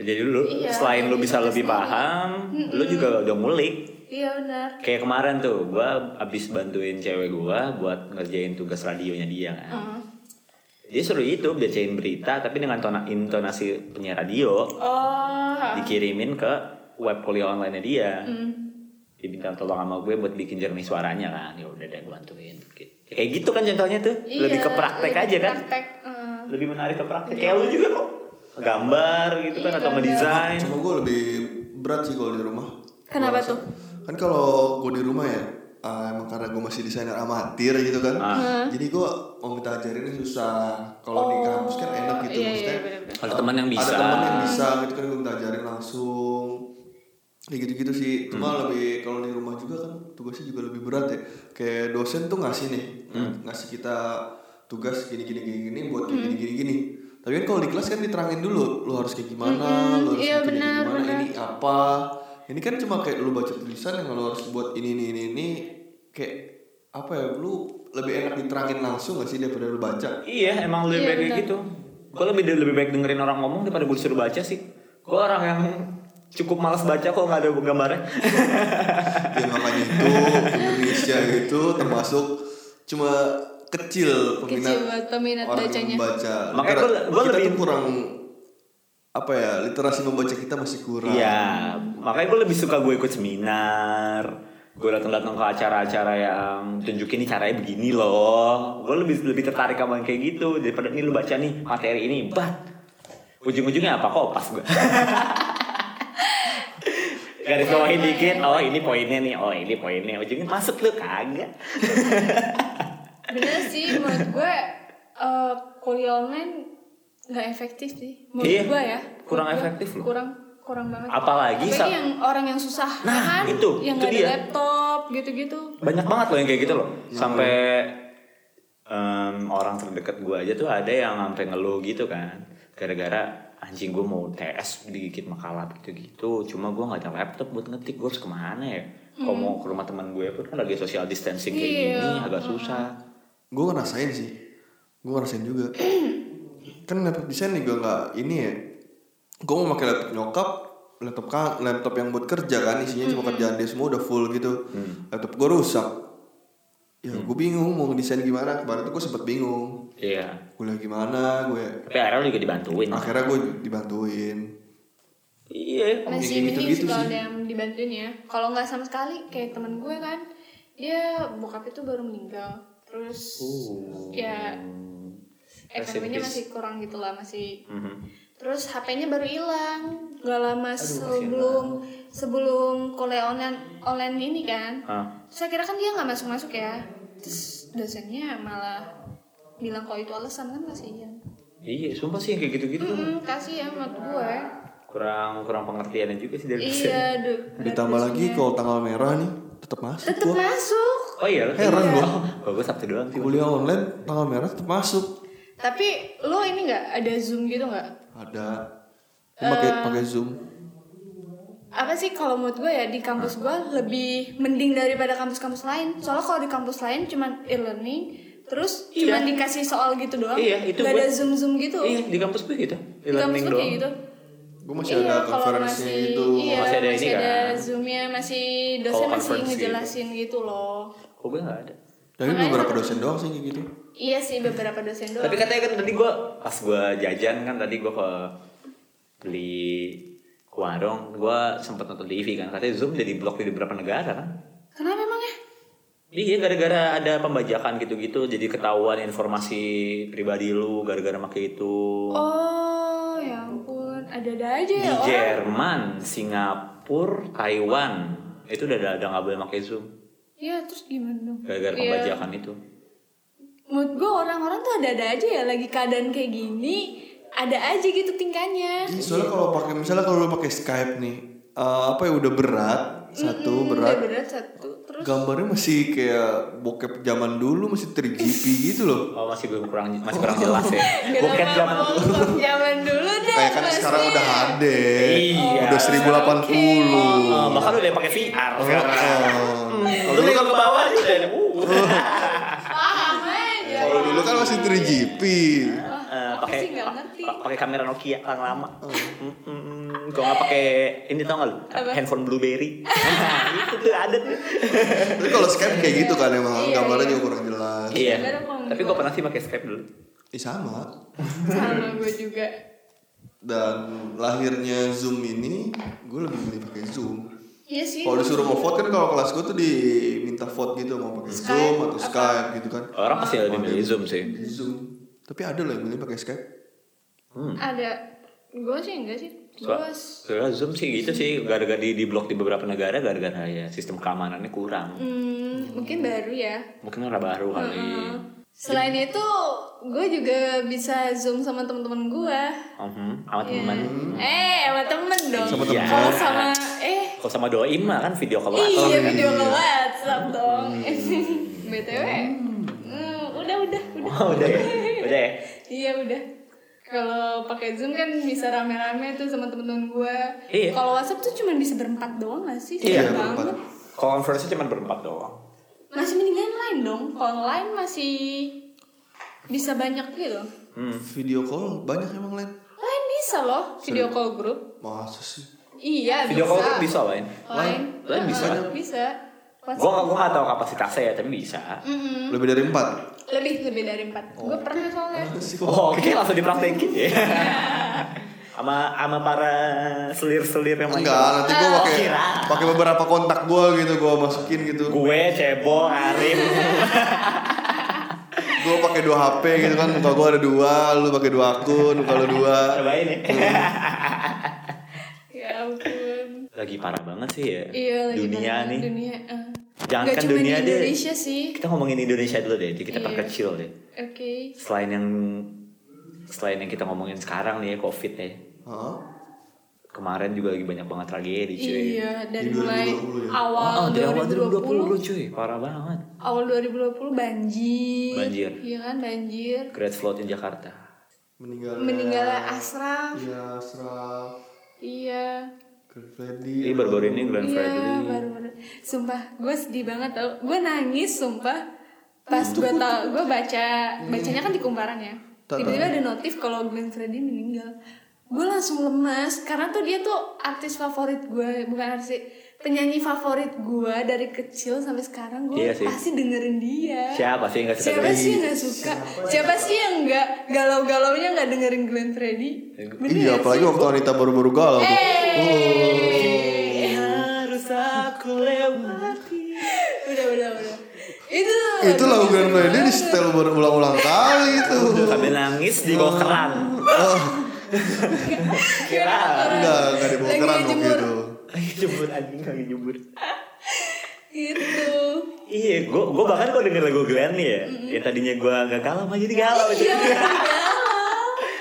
S2: jadi lu
S3: Iya,
S2: selain lu
S3: jadi
S2: bisa
S3: kita
S2: lebih
S3: sendiri.
S2: paham lu juga udah ngulik
S3: iya benar.
S2: kayak kemarin tuh
S3: Uh-huh.
S2: gua abis bantuin cewek gua buat ngerjain tugas radionya dia kan
S3: Heeh.
S2: Dia suruh itu bacain berita tapi dengan tona intonasi penyiar radio
S3: Oh.
S2: dikirimin ke web kuliah online dia.
S3: Hmm.
S2: Diminta tolong sama gue buat bikin jernih suaranya kan. Ya udah deh gue bantuin. Gitu. Kayak gitu kan contohnya tuh. lebih ke
S3: Iya,
S2: praktek
S3: lebih
S2: aja
S3: ke
S2: kan.
S3: Praktek. eh,
S2: Lebih menarik ke praktek. Kayak lu juga kok. Gambar gitu kan
S3: Iya,
S2: atau
S3: gambar.
S2: ngedesain.
S4: Cuma gue lebih berat sih kalau di rumah.
S3: Kenapa tuh?
S4: Kan kalau gue di rumah ya, ah, emang karena gue masih desainer amatir gitu kan.
S2: Ah.
S4: Jadi gue mau minta ajarin susah. Kalau di
S3: Oh,
S4: kampus kan enak gitu
S3: iya, iya,
S4: maksudnya.
S3: bener-bener.
S2: Ada teman yang bisa.
S4: Ada teman yang bisa gitu kan gue minta ajarin langsung. Ya gitu-gitu sih. Cuma
S2: Hmm.
S4: lebih kalau di rumah juga kan tugasnya juga lebih berat ya. Kayak dosen tuh ngasih nih,
S2: Hmm.
S4: ngasih kita tugas gini-gini gini-gini buat
S3: Hmm.
S4: gini-gini gini. Tapi kan kalau di kelas kan diterangin dulu, lu harus kayak gimana, lu harus
S3: iya,
S4: kayak gini,
S3: benar,
S4: gimana,
S3: benar.
S4: ini apa. Ini kan cuma kayak lu baca tulisan yang lu harus buat ini ini ini ini kayak apa ya lu lebih enak diterangin langsung gak sih daripada lu baca
S2: Iya, emang lebih
S3: Iya,
S2: baik kayak
S3: benar.
S2: gitu. Gue lebih lebih baik dengerin orang ngomong daripada gue disuruh baca sih. Gue orang yang cukup malas baca kok nggak ada gambarnya.
S4: ya makanya itu Indonesia itu termasuk cuma kecil peminat
S3: Kecil banget peminat
S4: orang
S3: bacanya.
S4: yang membaca
S2: Makanya gua- gua
S4: kita
S2: lebih-
S4: tuh kurang apa ya literasi membaca kita masih kurang
S2: Iya, makanya gue lebih suka gue ikut seminar. Gue datang-datang ke acara-acara yang tunjukin nih caranya begini loh. Gue lebih lebih tertarik sama yang kayak gitu daripada ini lu baca nih materi ini, bat. Ujung-ujungnya apa kok pas gue. Garis bawahin dikit, oh ini poinnya nih, oh ini poinnya. Ujungnya masuk lu kagak.
S3: Bener sih menurut gue eh, kuliah online nggak efektif sih menurut
S2: Iya,
S3: gue ya.
S2: kurang
S3: Menurut gua
S2: efektif loh.
S3: Kurang kurang banget.
S2: Apalagi sa-
S3: Apalagi yang orang yang susah
S2: Nah,
S3: kan,
S2: itu,
S3: yang
S2: itu
S3: nggak ada
S2: dia.
S3: laptop gitu-gitu.
S2: banyak banget loh yang kayak gitu loh
S3: Iya.
S2: sampai em, orang terdekat gue aja tuh ada yang sampai ngeluh gitu kan gara-gara anjing gue mau TS dikit makalah gitu-gitu cuma gue nggak ada laptop buat ngetik gue harus kemana ya kalau mau ke rumah teman gue pun kan lagi social distancing kayak
S3: Hmm. Iya.
S2: gini agak susah
S4: gue ngerasain sih gue ngerasain juga kan laptop desain juga nggak ini ya gue mau pakai laptop nyokap laptop kan laptop yang buat kerja kan isinya cuma kerjaan dia semua udah full gitu laptop gue rusak ya gue bingung mau desain gimana kemarin tuh gue sempet bingung
S2: iya
S4: kuliah gimana gue
S2: tapi akhirnya lu juga dibantuin
S4: akhirnya gue dibantuin
S2: iya
S4: Emang
S3: Masih
S4: kayak
S3: mending
S4: gitu-gitu
S3: sih kalau
S4: sih.
S3: ada yang dibantuin ya. Kalau nggak sama sekali kayak temen gue kan, dia bokap itu baru meninggal. Terus ya ekonominya
S2: Oh. peace.
S3: masih kurang gitu lah masih
S2: Mhm.
S3: Terus HP-nya baru hilang. Gak lama sebelum sebelum kuliah online online ini kan.
S2: Ah.
S3: Saya kira kan dia nggak masuk masuk ya. Terus dosennya malah bilang kalau itu alasan kan kasihan.
S2: iya sumpah sih yang kayak gitu-gitu
S3: Mm-mm, kasihan menurut gue.
S2: kurang kurang pengertiannya juga sih dari dosen.
S3: Iya, duh.
S4: ditambah lagi kalau tanggal merah nih tetap masuk
S3: tetep
S4: gua
S3: masuk.
S2: oh iya
S4: Heran gua.
S2: gue gue sabtu doang sih
S4: kuliah online tanggal merah tetap masuk
S3: Tapi lo ini nggak ada zoom gitu nggak?
S4: ada Gua pakai pakai zoom
S3: apa sih kalau menurut gue ya di kampus gue lebih mending daripada kampus-kampus lain soalnya kalau di kampus lain cuman e-learning terus cuman dikasih soal gitu doang
S2: Iya, itu
S3: gak ada
S2: gue-
S3: zoom zoom gitu
S2: iya di kampus gue gitu
S3: di kampus gue kayak gitu Iya,
S4: gue masih ada gitu.
S3: kalau
S4: konferensinya
S3: masih-
S4: itu
S3: iya,
S2: Masih
S3: masih
S2: ada
S3: ada,
S2: ini kan?
S3: zoomnya masih dosen
S2: Kalau
S3: masih
S2: conference
S3: ngejelasin gitu. loh
S2: Kok gue gak Oh, ada?
S4: Tapi
S3: Makanya-
S4: beberapa dosen doang sih kayak gitu.
S3: iya sih beberapa dosen doang
S2: Tapi katanya kan tadi gue pas gue jajan kan tadi gue ke beli ke warung gue sempet nonton di TV kan katanya Zoom jadi blok di beberapa negara kan.
S3: kenapa ya? emangnya
S2: Iya gara-gara ada pembajakan gitu-gitu jadi ketahuan informasi pribadi lu gara-gara make itu.
S3: oh ya ampun ada-ada aja
S2: di
S3: ya orang
S2: Jerman, Singapura, Taiwan itu udah ada ada nggak boleh pakai Zoom
S3: iya terus gimana dong
S2: gara-gara
S3: Iya.
S2: pembajakan itu.
S3: menurut gue orang-orang tuh ada-ada aja ya lagi keadaan kayak gini ada aja gitu tingkahnya
S4: Iya, soalnya kalau pakai misalnya kalau lu pakai Skype nih, eh, apa ya udah berat, satu
S3: Mm,
S4: berat.
S3: udah berat satu terus
S4: Gambarnya masih kayak bokep zaman dulu masih 3GP gitu loh.
S2: Oh masih belum kurang masih kurang jelas ya. Bukan
S3: kenapa
S2: zaman
S3: bokep zaman dulu dah
S4: Kayak kan sekarang
S3: pasti.
S4: udah HD.
S2: Iya.
S4: Udah 1080.
S2: Oh, bahkan udah pakai VR
S4: Oh, Ya
S2: sekarang.
S4: Heeh.
S2: Lu tinggal ke bawah aja udah ada, uh.
S3: paham eh? Ya. aja
S4: Kalau dulu kan masih 3GP.
S2: Eh,
S3: Aku sih nggak ngerti.
S2: pa- pakai kamera Nokia yang lama. Mm-mm. Kalau nggak pakai ini tau nggak lu?
S3: Apa?
S2: Handphone BlueBerry. Nah, itu tuh ada tuh.
S4: Tapi kalau Skype kayak gitu kan emang
S3: Iya,
S4: gambarnya
S3: iya.
S4: juga kurang jelas.
S2: Iya.
S3: Sebenarnya kalau
S2: Tapi
S3: gua-
S2: gue pernah sih pakai Skype dulu.
S4: Eh sama.
S3: sama gue juga
S4: Dan lahirnya Zoom ini, gue lebih milih pakai Zoom.
S3: iya sih
S4: Kalau disuruh mau vote kan kalau kelas gue tuh diminta vote gitu mau pakai
S3: Skype,
S4: Zoom atau
S3: apa?
S4: Skype gitu kan.
S2: Orang pasti lebih milih Zoom sih.
S4: Zoom. Tapi ada loh yang milih pakai Skype.
S3: ada gue sih enggak sih
S2: Soal-
S3: gue
S2: Soalnya Zoom sih gitu sih gara-gara di, di blok di beberapa negara gara-gara ya sistem keamanannya kurang.
S3: hmm, mungkin baru ya Uh-huh.
S2: Mungkin orang baru kali.
S3: selain itu gue juga bisa zoom sama teman-teman gue
S2: Mhm, Sama
S3: Iya.
S2: teman.
S3: eh sama temen dong
S4: Sama
S2: temen.
S3: kalau sama eh
S2: Kalau sama doim mah kan video call WhatsApp.
S3: Iya video ke WhatsApp dong. BTW. Hmm, udah udah udah.
S2: Oh, udah ya. Udah ya.
S3: Iya udah. Kalau pakai Zoom kan bisa rame-rame tuh sama temen-temen gue.
S2: Iya.
S3: Kalau WhatsApp tuh cuma bisa berempat doang gak sih?
S2: Iya,
S3: Sedih
S4: berempat.
S3: banget.
S2: Kalau konferensi cuma berempat doang.
S3: Masih mendingan lain dong. Kalau lain masih bisa banyak gitu.
S4: Video call banyak emang lain.
S3: Lain bisa loh video call group.
S4: Masa sih?
S3: Iya
S2: Video call tuh
S3: bisa.
S2: bisa lain.
S3: Lain.
S2: Lain bisa.
S3: Heeh, Bisa.
S2: Gue gak, gua gak tau kapasitasnya ya, tapi bisa.
S3: Mm-mm.
S4: Lebih dari empat.
S3: Lebih lebih dari empat. Gue pernah soalnya.
S2: Oh, Oke, langsung dipraktekin ya. Sama sama para selir-selir yang main.
S4: Enggak, nanti
S3: Oh,
S4: gue pakai
S2: Kira.
S4: pakai beberapa kontak gue gitu, gue masukin gitu.
S2: Gue, Cebol, Arif.
S4: Gue pakai dua HP gitu kan, muka gue ada dua, lu pakai dua akun, muka lu dua.
S2: Cobain ya.
S4: Hmm.
S3: Ya ampun.
S2: Lagi parah banget sih ya.
S3: Iya lagi
S2: dunia
S3: banyak
S2: nih.
S3: Dunia. eh.
S2: Jangan
S3: Nggak
S2: kan
S3: cuma
S2: dunia
S3: di
S2: deh.
S3: Indonesia sih.
S2: Kita ngomongin Indonesia dulu deh, jadi kita
S3: Iya.
S2: perkecil deh.
S3: Oke.
S2: Selain yang selain yang kita ngomongin sekarang nih ya, COVID ya.
S4: Hah?
S2: Kemarin juga lagi banyak banget tragedi cuy.
S3: Iya dari
S4: Di
S3: mulai
S4: 2020 ya?
S3: awal
S2: Oh, dari awal
S3: 2020
S2: 2020 cuy, parah banget.
S3: awal 2020 banjir.
S2: Banjir.
S3: Iya kan banjir.
S2: Great Flood in Jakarta.
S4: Meninggal.
S3: Meninggalnya Asraf.
S4: Iya, Asraf.
S3: Iya.
S4: Glenfreddy.
S2: Ini baru-baru ini Glenn
S3: Iya
S2: Fredly.
S3: baru-baru. Sumpah gue sedih banget tau. Gue nangis sumpah. Pas gue tau gue baca bacanya kan di kumparan ya.
S4: Iya. Tahu,
S3: Tiba-tiba ada notif kalau Glenn Fredly meninggal. Gue langsung lemas karena tuh dia tuh artis favorit gue bukan artis sih, penyanyi favorit gue dari kecil sampai sekarang gue
S2: Iya sih.
S3: pasti dengerin dia.
S2: Siapa sih yang gak suka
S3: Siapa
S2: Glenn?
S3: sih yang gak suka? Siapa sih yang gak galau-galaunya gak dengerin Glenn Fredly? Bener
S4: Iya,
S3: gak
S4: apalagi
S3: sih?
S4: waktu wanita baru-baru galau tuh.
S3: Eh.
S2: Harus aku lewati.
S3: udah udah udah itu
S4: Itu lagu Glenn Freddy di setel berulang-ulang kali itu.
S2: Sambil nangis di
S3: Oh.
S2: kokeran. Kira.
S4: Enggak, enggak dibongkaran
S3: Lagi
S4: waktu
S3: jemur.
S4: itu.
S2: Lagi jemur anjing, lagi jemur.
S3: itu
S2: Iya, gue gue bahkan kok denger lagu Glenn nih ya. Yang tadinya gue gak galau, mah jadi galau.
S3: Iya.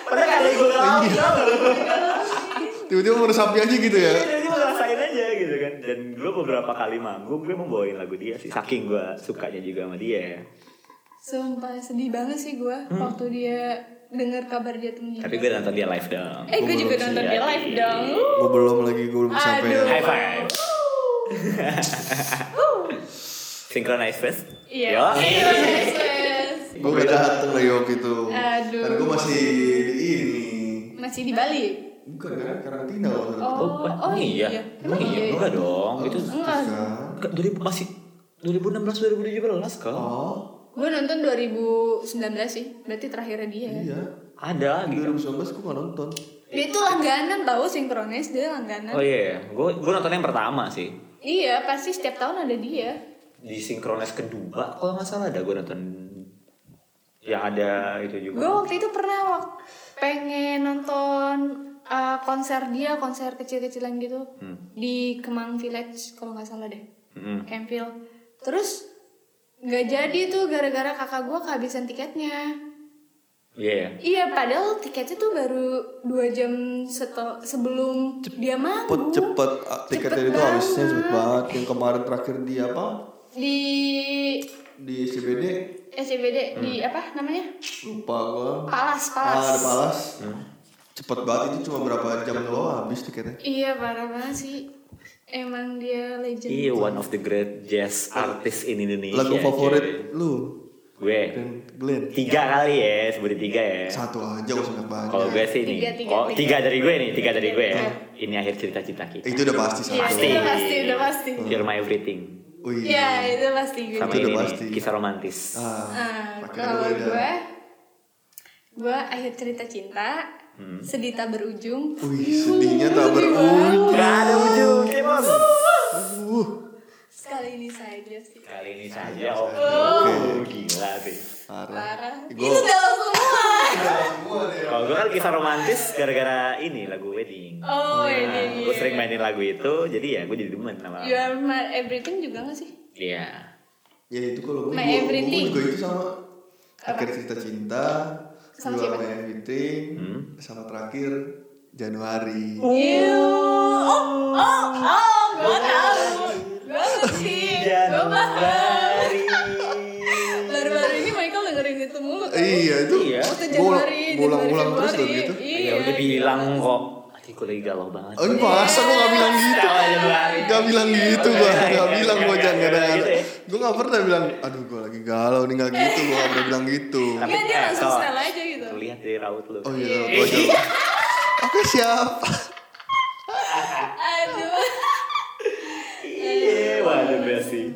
S2: Padahal gak ada yang gue galau.
S4: Tiba-tiba meresapi aja gitu ya.
S2: Jadi gue ngerasain aja gitu kan. Dan gue beberapa kali manggung, gue mau bawain lagu dia sih. Saking gue sukanya juga sama dia ya.
S3: sumpah sedih banget sih gue waktu dia dengar kabar dia tuh meninggal
S2: Hmm. Tapi gue nonton dia live dong.
S3: eh gue juga nonton dia live dong
S4: Gue belum lagi, gue belum sampai ya.
S3: Aduh.
S2: High five. Synchronize first. Ya.
S3: iya
S2: Yo.
S3: Iya, yes, yes.
S4: Gue gak dateng lagi waktu itu.
S3: Aduh.
S4: Kan gue masih di ini.
S3: masih di Bali
S4: Bukan kan karantina waktu itu.
S3: Oh, oh iya.
S2: Emang iya, enggak dong. Itu
S3: enggak
S4: Kan?
S2: ke- dari masih 2016 2017 kok.
S4: Oh,
S3: gue nonton 2019 sih berarti terakhirnya dia ya
S4: iya.
S2: Ada gitu.
S4: 2019 gue gak nonton.
S3: dia tuh langganan tau sinkronis dia langganan
S2: Oh iya, gue gue nonton yang pertama sih.
S3: iya pasti setiap tahun ada dia
S2: Di Synchronize kedua kalau nggak salah ada gue nonton yang ada itu
S3: Gue
S2: juga.
S3: waktu itu pernah wak- pengen nonton uh, konser dia, konser kecil-kecilan gitu
S4: Hmm.
S3: di Kemang Village kalau nggak salah deh,
S2: Mm.
S3: Campfield. Terus nggak jadi tuh gara-gara kakak gue kehabisan tiketnya.
S2: Iya.
S3: Iya, padahal tiketnya tuh baru dua jam setel- sebelum dia
S4: Cepet,
S3: manggung.
S4: cepet. Ah, Tiketnya
S3: Cepet
S4: itu habisnya
S3: banget.
S4: cepet banget. Yang kemarin terakhir di apa?
S3: Di
S4: Di CBD.
S3: SCBD di apa namanya?
S4: Lupa gue.
S3: Palas,
S4: Hmm. Ah,
S3: Palas.
S4: ada palas.
S2: Hmm.
S4: Cepet banget itu cuma berapa jam doang habis tiketnya.
S3: Iya, parah banget sih. Emang dia legend.
S2: Iya, one of the great jazz artist in Indonesia.
S4: Lagu
S2: cuy.
S4: favorit lu?
S2: Gue.
S4: Dan Glenn.
S2: Tiga kali ya, sebutin tiga ya.
S4: Satu aja gak usah banyak.
S2: Kalau gue sih nih,
S3: Tiga, tiga,
S2: oh
S3: tiga.
S2: tiga dari gue nih, tiga dari gue ya.
S3: Tiga.
S2: Ini akhir cerita-cinta kita.
S4: Itu udah pasti
S3: Iya,
S4: satu.
S3: itu udah pasti, udah pasti.
S2: You're my everything.
S4: Wih.
S3: Iya, itu pasti Ah. gue.
S2: Sama
S4: Itu
S2: ini
S4: udah
S2: nih,
S4: pasti.
S2: kisah romantis.
S4: Ah,
S3: Nah,
S4: pakai
S3: kalau
S4: dulu dah.
S3: gue gue akhir cerita cinta
S2: Hmm.
S3: sedih tak berujung
S4: Wih, sedihnya tak berujung.
S2: Gak ada ujung, Bos.
S4: Uh,
S3: sekali ini saja sih
S2: Kali ini saja, oh. Gila sih.
S4: parah.
S3: parah
S4: Gua-
S3: itu galau semua
S2: Kalau gue kan kisah romantis gara-gara ini lagu wedding.
S3: oh ini
S2: Gue sering mainin lagu itu, jadi ya gue jadi demen sama.
S3: you are my everything juga gak sih
S2: Iya.
S4: Ya itu kalau gue,
S3: My
S4: gue- gue
S3: everything.
S4: juga itu sama akhir cerita cinta,
S3: Sama
S4: juara
S3: siapa?
S4: everything,
S2: Hmm.
S4: sama terakhir Januari.
S3: Ew. Oh, oh, oh, gue Iya. tahu. Gue ngerti.
S4: Iya,
S3: Gue paham. Baru-baru ini Michael dengerin itu mulu. kan?
S4: Iya itu.
S2: Iya.
S3: Waktu
S4: bolak-
S3: Januari,
S4: Bolak-bolak terus
S3: Januari,
S4: loh gitu.
S3: Januari.
S2: Ya
S3: Iya.
S2: udah bilang kok. Hati gue lagi galau banget.
S4: Oh, ini masa gue gak bilang gitu.
S2: Sama Januari.
S4: Gak bilang gitu gue,
S2: Iya, iya,
S4: gak bilang
S2: iya,
S4: gue
S2: iya,
S4: jangan
S2: iya,
S4: gara
S2: gitu ya.
S4: Gue gak pernah bilang, aduh gue lagi galau nih gak gitu, gue gak pernah bilang gitu.
S2: Tapi-
S3: Iya, dia
S2: eh,
S3: langsung
S2: so,
S3: style aja gitu.
S2: Terlihat dari raut lu.
S4: Oh iya, gue jauh. Oke siap.
S3: Aduh.
S2: Iya, waduh besi.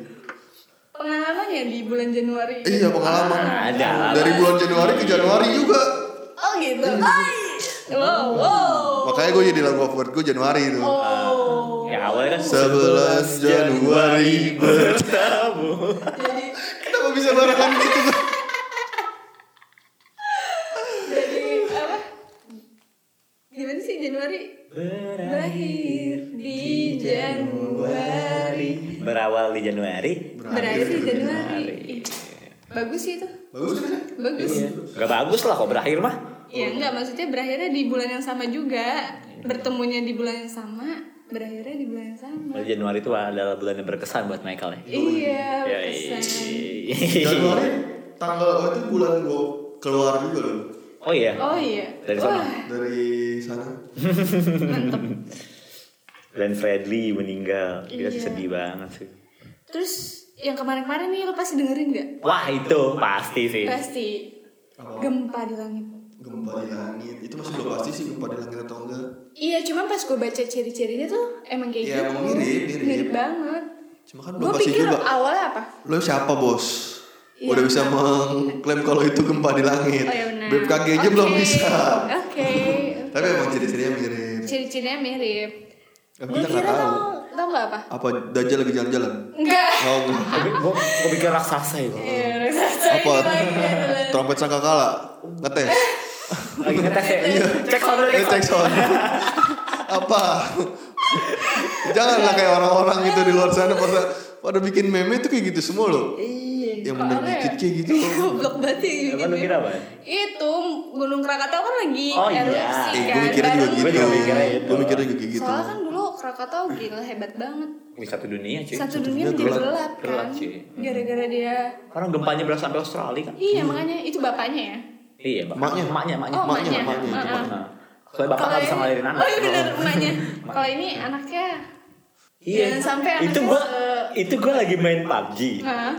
S3: Pengalamannya di bulan Januari.
S4: Iya pengalaman.
S2: Ada lah.
S4: Dari bulan Januari ke Januari juga.
S3: Oh gitu. Ay. Wow, wow.
S4: Makanya gue jadi lagu favorit gue Januari itu.
S3: Oh.
S2: Ya awalnya kan
S4: Sebelas Januari ber.
S2: bertamu.
S3: Jadi
S4: Kenapa bisa barengan gitu?
S3: jadi apa? Gimana sih Januari? Berakhir di Januari.
S2: Berawal di Januari.
S3: Berakhir di Januari. Iya. Ih, Bagus sih itu.
S4: Bagus kan?
S3: Bagus.
S2: Gak bagus lah kok berakhir mah.
S3: Iya enggak maksudnya berakhirnya di bulan yang sama juga. Bertemunya di bulan yang sama, berakhirnya di bulan yang sama.
S2: Bulan Januari itu adalah bulan yang berkesan buat Michael ya.
S3: Iya,
S2: Ya,
S3: pesan.
S2: iya.
S4: Januari tanggal oh itu bulan gue keluar juga loh
S2: Oh iya.
S3: Oh iya.
S2: Dari sana.
S3: Wah,
S4: dari sana.
S3: mantep.
S2: Glenn Fredly meninggal. Gila sih
S3: Iya.
S2: sedih banget sih.
S3: Terus yang kemarin-kemarin nih lo pasti dengerin nggak?
S2: Wah itu pasti sih.
S3: Pasti. Gempa di langit.
S4: Gempa di langit itu masih belum pasti sih gempa di langit atau enggak.
S3: Iya, cuman pas gue baca ciri-cirinya tuh emang kayak
S4: Iya,
S3: gitu.
S4: emang mirip, mirip.
S3: banget.
S4: Cuma kan belum
S3: Gue
S4: pasti
S3: pikir
S4: juga.
S3: awalnya apa?
S4: Lo siapa bos?
S3: Iya.
S4: Udah bisa mengklaim kalau itu gempa di langit.
S3: Oh ya benar.
S4: BMKG aja belum
S3: Oke,
S4: bisa.
S3: Oke.
S4: Tapi emang ciri-cirinya mirip.
S3: Ciri-cirinya mirip.
S4: Tapi
S3: Gue
S4: kita nggak
S3: kira
S4: tahu.
S3: tau, tau gak apa?
S4: Apa Dajjal lagi jalan-jalan?
S3: Enggak.
S4: Oh, enggak.
S2: Gue pikir raksasa itu.
S3: Iya, raksasa
S4: Apa?
S3: itu lagi.
S4: Trompet sangkakala ngetes.
S2: Lagi ngetes ya.
S3: Iya.
S2: Cek sound dulu, cek
S4: Ngecek sound. Apa? Janganlah kayak orang-orang gitu di luar sana pada pada bikin meme itu kayak gitu semua loh.
S2: Iya.
S4: Yang bener
S3: Apa ya?
S4: dikit kayak gitu.
S3: Goblok banget sih
S2: Apa lu
S3: gitu.
S2: kira apa?
S3: Itu Gunung Krakatau kan lagi
S2: Oh, iya.
S3: erupsi
S4: Eh,
S3: kan.
S4: gue mikirnya juga
S3: bareng
S4: gitu.
S2: Gua juga mikirnya gitu.
S4: Gue mikirnya juga kayak gitu.
S3: Soalnya kan dulu Krakatau gila hebat banget.
S2: Wih satu dunia cuy.
S3: Satu dunia
S4: dunia
S3: menjadi
S4: gelap.
S3: gelap
S2: Gelap, Hmm.
S3: kan.
S2: cuy.
S3: Gara-gara dia
S2: Orang gempanya berasa sampai Australia kan?
S3: Iya makanya itu bapaknya ya.
S2: Iya, Bapak.
S4: Emaknya.
S2: emaknya, emaknya.
S3: Oh,
S4: Emaknya,
S3: emaknya.
S4: emaknya, itu
S3: Heeh.
S2: Nah, Soalnya bapak
S3: Kalau
S2: nggak bisa
S3: ini-
S2: ngelahirin anak.
S3: Oh iya benar emaknya. Kalau ini anaknya. Jangan sampai
S2: Iya. itu eh,
S3: anaknya
S2: gua
S3: se-
S2: itu gua lagi main PUBG
S3: Hah?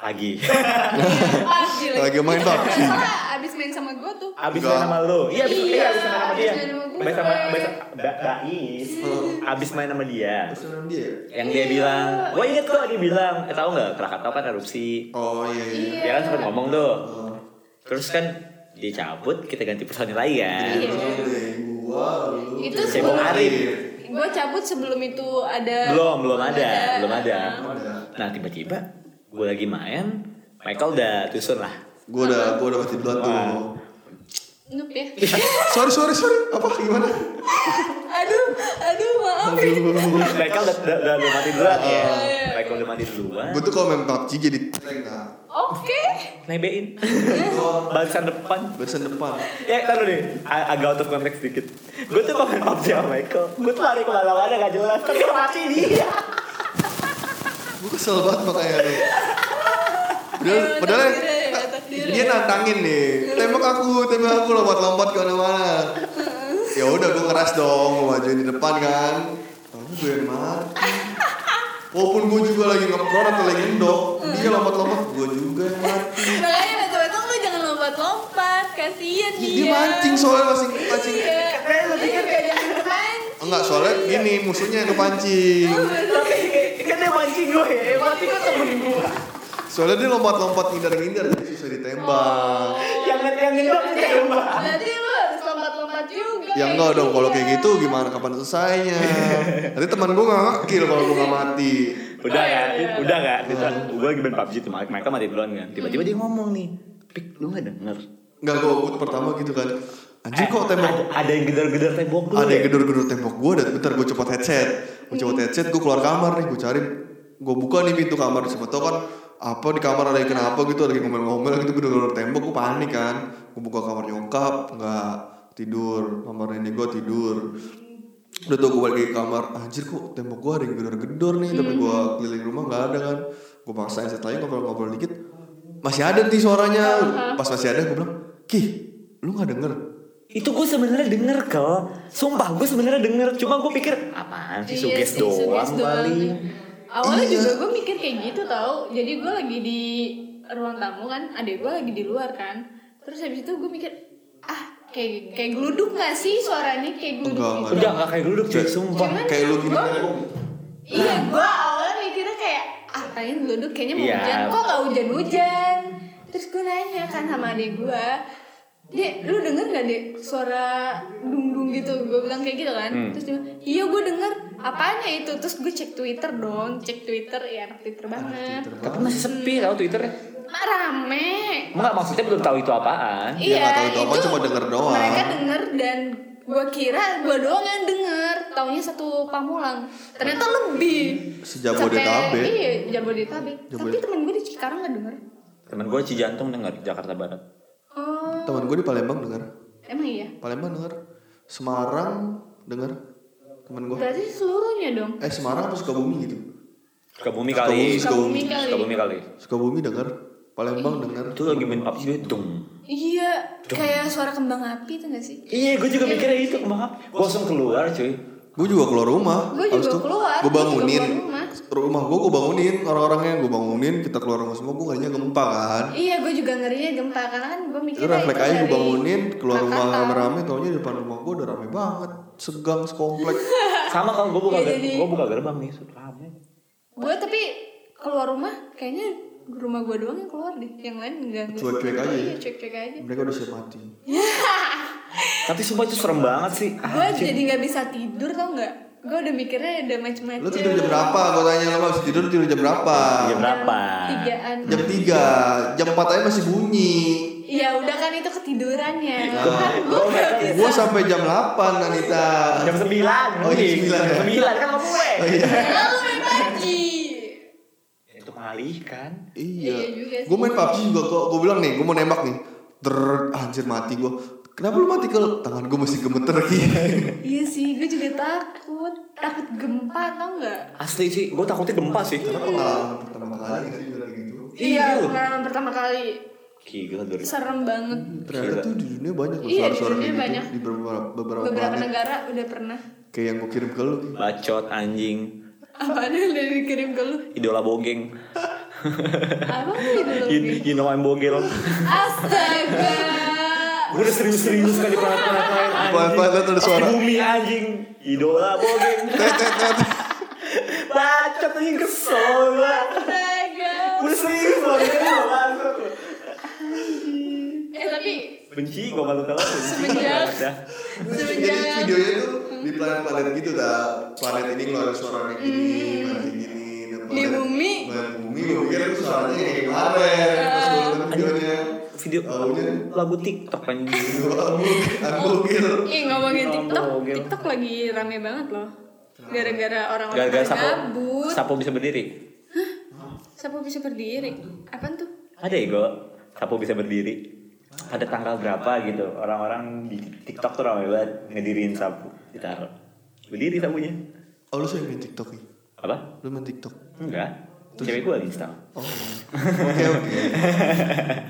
S2: pagi.
S3: Ah, gila.
S4: Lagi main PUBG.
S3: Soalnya abis main sama gue tuh.
S2: Abis
S4: Enggak.
S2: main sama lu. Iya, abis,
S3: Iya,
S2: iya, Hmm. abis main sama
S3: abis
S2: dia.
S3: main
S2: Abis
S3: sama gue.
S2: sama abis, ba, Bais. Abis main sama dia.
S4: Pesanan dia.
S2: Yang dia bilang, "Gua inget kok dia bilang, eh tahu nggak Krakatau kan erupsi."
S4: Oh iya iya.
S2: Dia kan sempat ngomong tuh. Terus kan dia cabut, kita ganti personil lagi kan.
S3: Iya.
S4: Gua lu.
S3: Itu
S2: Cebong
S3: sebelum
S2: Arif.
S3: gue cabut sebelum itu ada.
S2: Belum, belum ada, belum ada.
S4: Ada.
S2: Nah, tiba-tiba gue lagi main, Michael udah tusun lah.
S4: Gua udah gua udah mati duluan tuh.
S3: Nup ya.
S4: Sorry sorry sorry. Apa gimana?
S3: aduh, aduh maaf. ya.
S4: Aduh.
S2: Michael udah, udah, udah, udah mati duluan ya. Michael udah mati duluan.
S4: Gue tuh kalau main PUBG jadi tank nah.
S3: Oke.
S2: Nebein. Barisan depan.
S4: Barisan depan.
S2: Ya, taruh deh. A- agak out of context dikit. Gue tuh komen PUBG sama Michael. Gue tuh lari kemana-mana gak jelas. Tapi yang mati dia.
S4: Gue kesel banget makanya tuh.
S3: Ayo,
S4: Padahal, padahal
S3: takdir ya, takdir
S4: dia
S3: ya.
S4: nantangin nih. Tembak aku, tembak aku lompat-lompat ke mana-mana. Ya udah gue keras dong, gue majuin di depan kan. Tapi gue yang mati. Walaupun gue juga lagi ngepron atau lagi endok, dia lompat-lompat gue juga yang mati.
S3: Makanya betul-betul lu jangan lompat-lompat. Kasian dia.
S4: Dia mancing soalnya masih mancing.
S3: Iya. Iya, jangan mancing.
S4: Enggak soalnya gini musuhnya yang kepancing.
S2: Tapi kan dia mancing gue ya. Eh, Mati kan temen gue.
S4: Soalnya dia lompat-lompat ngindar-ngindar jadi susah ditembak.
S2: Yang ngeliat yang nginep kita gempa.
S3: Berarti lu harus lompat-lompat juga.
S4: Ya
S3: kayak
S4: enggak dong, kalau
S3: gitu.
S4: kayak gitu gimana kapan selesainya? Nanti teman gue nggak ngekil kalau gue nggak mati.
S2: Udah
S3: Oh, iya,
S2: ya,
S3: iya, iya.
S2: udah gak? Terus gue lagi main PUBG tuh, mereka mati duluan kan. Tiba-tiba dia ngomong nih, pik lu gak denger? Eh,
S4: Enggak gue gue pertama gitu kan. Anjir kok tembok
S2: Ada, ada yang gedor-gedor tembok dulu
S4: ada yang
S2: ya?
S4: gedor-gedor tembok gue dan bentar gue copot headset. Gue copot headset, gue keluar kamar nih, gue cari gue buka nih pintu kamar siapa tau kan apa di kamar ada yang kenapa gitu ada yang ngomel-ngomel gitu gedor-gedor tembok gue panik kan gue buka kamar nyokap nggak tidur kamar nenek gue tidur udah tuh gue balik ke kamar anjir kok tembok gue ada yang gedor-gedor nih tapi gue keliling rumah nggak ada kan gue paksain setelah itu ngobrol-ngobrol dikit masih ada nih suaranya pas masih ada gue bilang kih lu nggak denger
S2: Itu gue sebenarnya denger kok. Sumpah gue sebenarnya denger. Cuma gue pikir apaan sih
S3: Iya
S2: suges
S3: sih, suges
S2: doang kali.
S3: Awalnya
S4: Iya.
S3: juga gue mikir kayak gitu tau. Jadi gue lagi di ruang tamu kan, adek gue lagi di luar kan. Terus habis itu gue mikir, ah kayak kayak geluduk gak sih suaranya kayak geluduk
S4: Enggak,
S3: gitu.
S4: enggak.
S2: Udah gak kayak duduk cuy, sumpah.
S3: Cuman
S4: kayak lu gini
S3: gua-
S4: kan?
S3: Iya, gue awalnya mikirnya kayak ah tanya geluduk kayaknya mau
S2: Iya.
S3: hujan, kok gak hujan-hujan. Terus gue nanya kan sama adik gue, Dek, lu denger gak dek suara dung-dung gitu? Gue bilang kayak gitu kan Terus dia bilang, iya gue denger Apanya itu? Terus gue cek Twitter dong Cek Twitter, ya anak Twitter banget
S2: Tapi masih sepi tau Twitternya.
S3: Mak rame
S2: Enggak maksudnya belum tahu itu apaan.
S4: Dia nggak tahu itu apa, cuma denger doang.
S3: Iya, Mereka denger dan gue kira gue doang yang denger Taunya satu pamulang Ternyata lebih
S4: Sejabodetabek.
S3: Sampai- Iya, Jabodetabek Tapi
S4: Jabodetabek.
S3: temen gue di Cikarang gak denger
S2: Temen gue Cijantung denger Jakarta Barat.
S3: Oh,
S4: teman gue di Palembang dengar
S3: emang iya?
S4: Palembang dengar Semarang dengar teman gue
S3: Berarti seluruhnya dong
S4: eh Semarang apa Sukabumi gitu
S2: Sukabumi kali.
S3: Sukabumi kali.
S2: Sukabumi kali.
S4: Sukabumi dengar Palembang dengar
S2: Itu lagi main PUBG gue dung.
S3: Iya, kayak suara kembang api itu gak sih?
S2: Iya, gue juga mikirnya itu, maaf. Gue langsung keluar, cuy.
S4: gue juga keluar rumah
S3: Gua juga keluar, gua
S4: gue
S3: juga
S4: bangunin
S3: keluar rumah.
S4: rumah gue gue bangunin orang-orangnya gue bangunin kita keluar rumah semua gue ngajak gempa kan
S3: Iya, gue juga ngerinya gempa karena kan gue mikir
S4: itu refleks aja
S3: iya.
S4: gue bangunin keluar rumah rame-rame taunya di depan rumah gue udah rame banget segang sekomplek
S2: Sama kalau gue buka,
S3: Iya,
S2: ger-
S3: jadi-
S2: gua buka gerbang nih, ya? rame.
S3: Gue tapi keluar rumah kayaknya rumah gue doang yang keluar deh, yang lain enggak.
S4: Cuek-cuek aja ya?
S3: Iya, cuek-cuek aja.
S4: mereka udah siap mati
S2: Tapi sumpah itu serem banget sih.
S3: Gue
S4: Ah,
S3: jadi nggak bisa tidur tau nggak? Gue udah mikirnya udah macem-macem.
S4: lu tidur jam berapa gue tanya lo habis tidur lu tidur jam berapa
S2: Jam berapa?
S3: Tigaan.
S4: jam 3 jam 4 aja masih bunyi
S3: Iya udah kan itu ketidurannya.
S4: Oh,
S2: gua
S4: iya.
S3: Gue nggak bisa.
S4: gue sampai jam 8 Anita
S2: Jam 9.
S4: Oh, iya, sembilan ya?
S2: Jam 9 kan kamu gue.
S3: Ya, lu main pagi.
S2: Ya, Itu kan. malaikat.
S4: iya
S3: Iya juga sih.
S4: gue main PUBG juga kok gue bilang nih gue mau nembak nih ter anjir mati gue kenapa lu mati kel tangan gue masih gemeter gitu
S3: Iya sih, gue juga takut. Takut gempa tau nggak?
S2: Asli sih, gue takutnya gempa sih.
S4: pengalaman pertama kali kan juga gitu
S3: Iya, pengalaman pertama kali
S2: Gila, dari
S3: serem banget.
S4: ternyata
S2: Gila.
S4: tuh di dunia banyak
S3: Iya,
S4: loh
S3: di
S4: suara-suara
S3: dunia
S4: kayak gitu
S3: banyak.
S4: di beberapa beberapa,
S3: Beberapa
S4: planet
S3: negara udah pernah.
S4: kayak yang gue kirim ke lu
S2: bacot, anjing,
S3: Apaan yang udah dikirim ke lu?
S2: idola bogeng.
S3: Apa sih dulu?
S2: You, you know I'm bogel.
S3: Astaga.
S2: Gue udah serius-serius kali pelan-pelan lain anjing.
S4: Pelan-pelan ada suara.
S2: Di bumi anjing. Idola bogeng. Bacot anjing kesel gua.
S3: Astaga.
S2: Gua udah serius kan, loh. ini loh, langsung.
S3: Eh tapi
S2: Benci gue malu kalau benci.
S3: Semenjak-
S2: Dah.
S4: jadi
S3: semenjak
S4: videonya tuh di planet-planet gitu dah planet ini keluarin suaranya gini planet gini nah,
S3: Di
S4: planet-
S3: bumi.
S4: planet bumi gue pikir itu suaranya kayak ya? kemarin pas gue nonton videonya
S2: video
S4: Taunya
S2: lagu TikTok anjing.
S4: video unbogil
S3: Ih ngomongin TikTok,
S2: Ngomongin.
S3: TikTok lagi rame banget loh. Gara-gara orang-orang
S2: Gara-gara sapu
S3: gabut.
S2: sapu bisa berdiri.
S3: Sapu bisa berdiri. Apaan tuh?
S2: Ada ya gue sapu bisa berdiri. Ada tanggal berapa gitu orang-orang di TikTok tuh ramai banget ngediriin sapu ditaruh. Berdiri sapunya.
S4: oh lu sering main tiktok ya
S2: Apa?
S4: lu main tiktok
S2: Enggak. Cewek gue install.
S4: Oh, oke oke.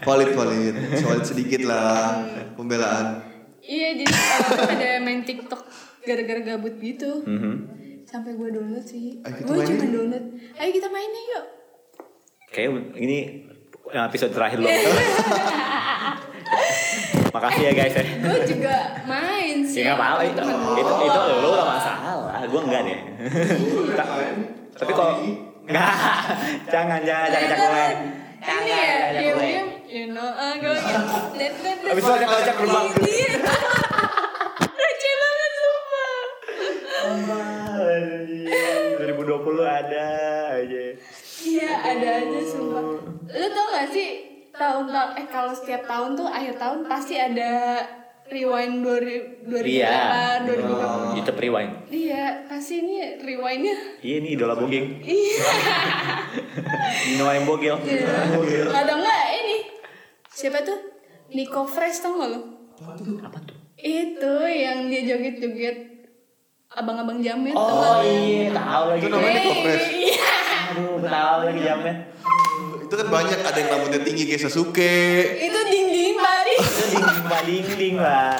S4: Valid valid, soal sedikit lah pembelaan.
S3: Iya jadi orang pada main TikTok gara-gara gabut gitu.
S2: Mhm.
S3: Sampai gue download sih.
S4: Ayo kita
S3: Gue
S4: main
S3: cuma
S4: yuk.
S3: download. Ayo kita main nih yuk.
S2: Kayak ini episode terakhir loh. Makasih ya guys ya.
S3: gue juga main sih.
S2: Ya nggak apa-apa itu. Itu itu lo gak masalah. Gue enggak deh. Ta- Tapi kalau enggak jangan jangan jangan jangan boleh.
S3: Ini ya,
S2: Jangan, jangan,
S3: diam-diam you know ah gue net net net
S2: Abis itu ada kelacak gerbang.
S3: Iya. receh banget sumpah
S2: 2020 ada aja.
S3: iya ada aja sumpah lu tau gak sih tahun-tahun eh kalau setiap tahun tuh akhir tahun pasti ada rewind 2000
S2: Iya.
S3: 2008 2008
S4: Oh.
S2: Youtube Rewind.
S3: Iya, pasti ini rewindnya.
S2: Iya nih idola bogeng.
S3: Iya.
S2: Nino yang bogel.
S3: Ada nggak ini? Siapa tuh? Nico Fresh tau nggak lo?
S2: Apa tuh?
S3: Itu yang dia joget-joget abang-abang jamet. tau nggak
S2: Oh
S3: lo?
S2: iya, tahu lagi.
S4: Itu namanya Nico Fresh.
S3: Iya.
S2: Aduh, tahu lagi jamet.
S4: Itu kan banyak ada yang rambutnya tinggi kayak Sasuke.
S3: Itu dinding bari.
S2: Itu dinding pak dinding pak.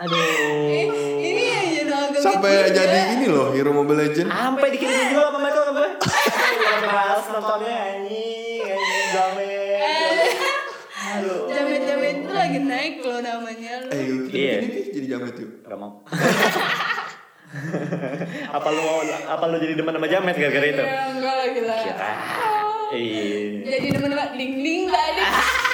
S3: Eh,
S2: Aduh.
S3: ini yang jadi agak
S4: Oh. Sampai jadi ini loh Hero Mobile Legend.
S2: Sampai dikirimin juga sama mereka sama gue. Aduh, Males nontonnya anjing, anjing jamet. Aduh.
S3: Jamet-jamet itu lagi naik loh namanya. Lo.
S4: Eh, kita
S2: Iya.
S4: bikin ini jadi jamet yuk.
S2: Gak mau. apa lu mau apa lu jadi demen sama jamet
S3: Iya,
S2: gara-gara itu?
S3: Ya, enggak lagi lah.
S2: Gitu. Kira.
S3: Oh.
S2: Iya.
S3: Jadi teman-teman ding ding tadi.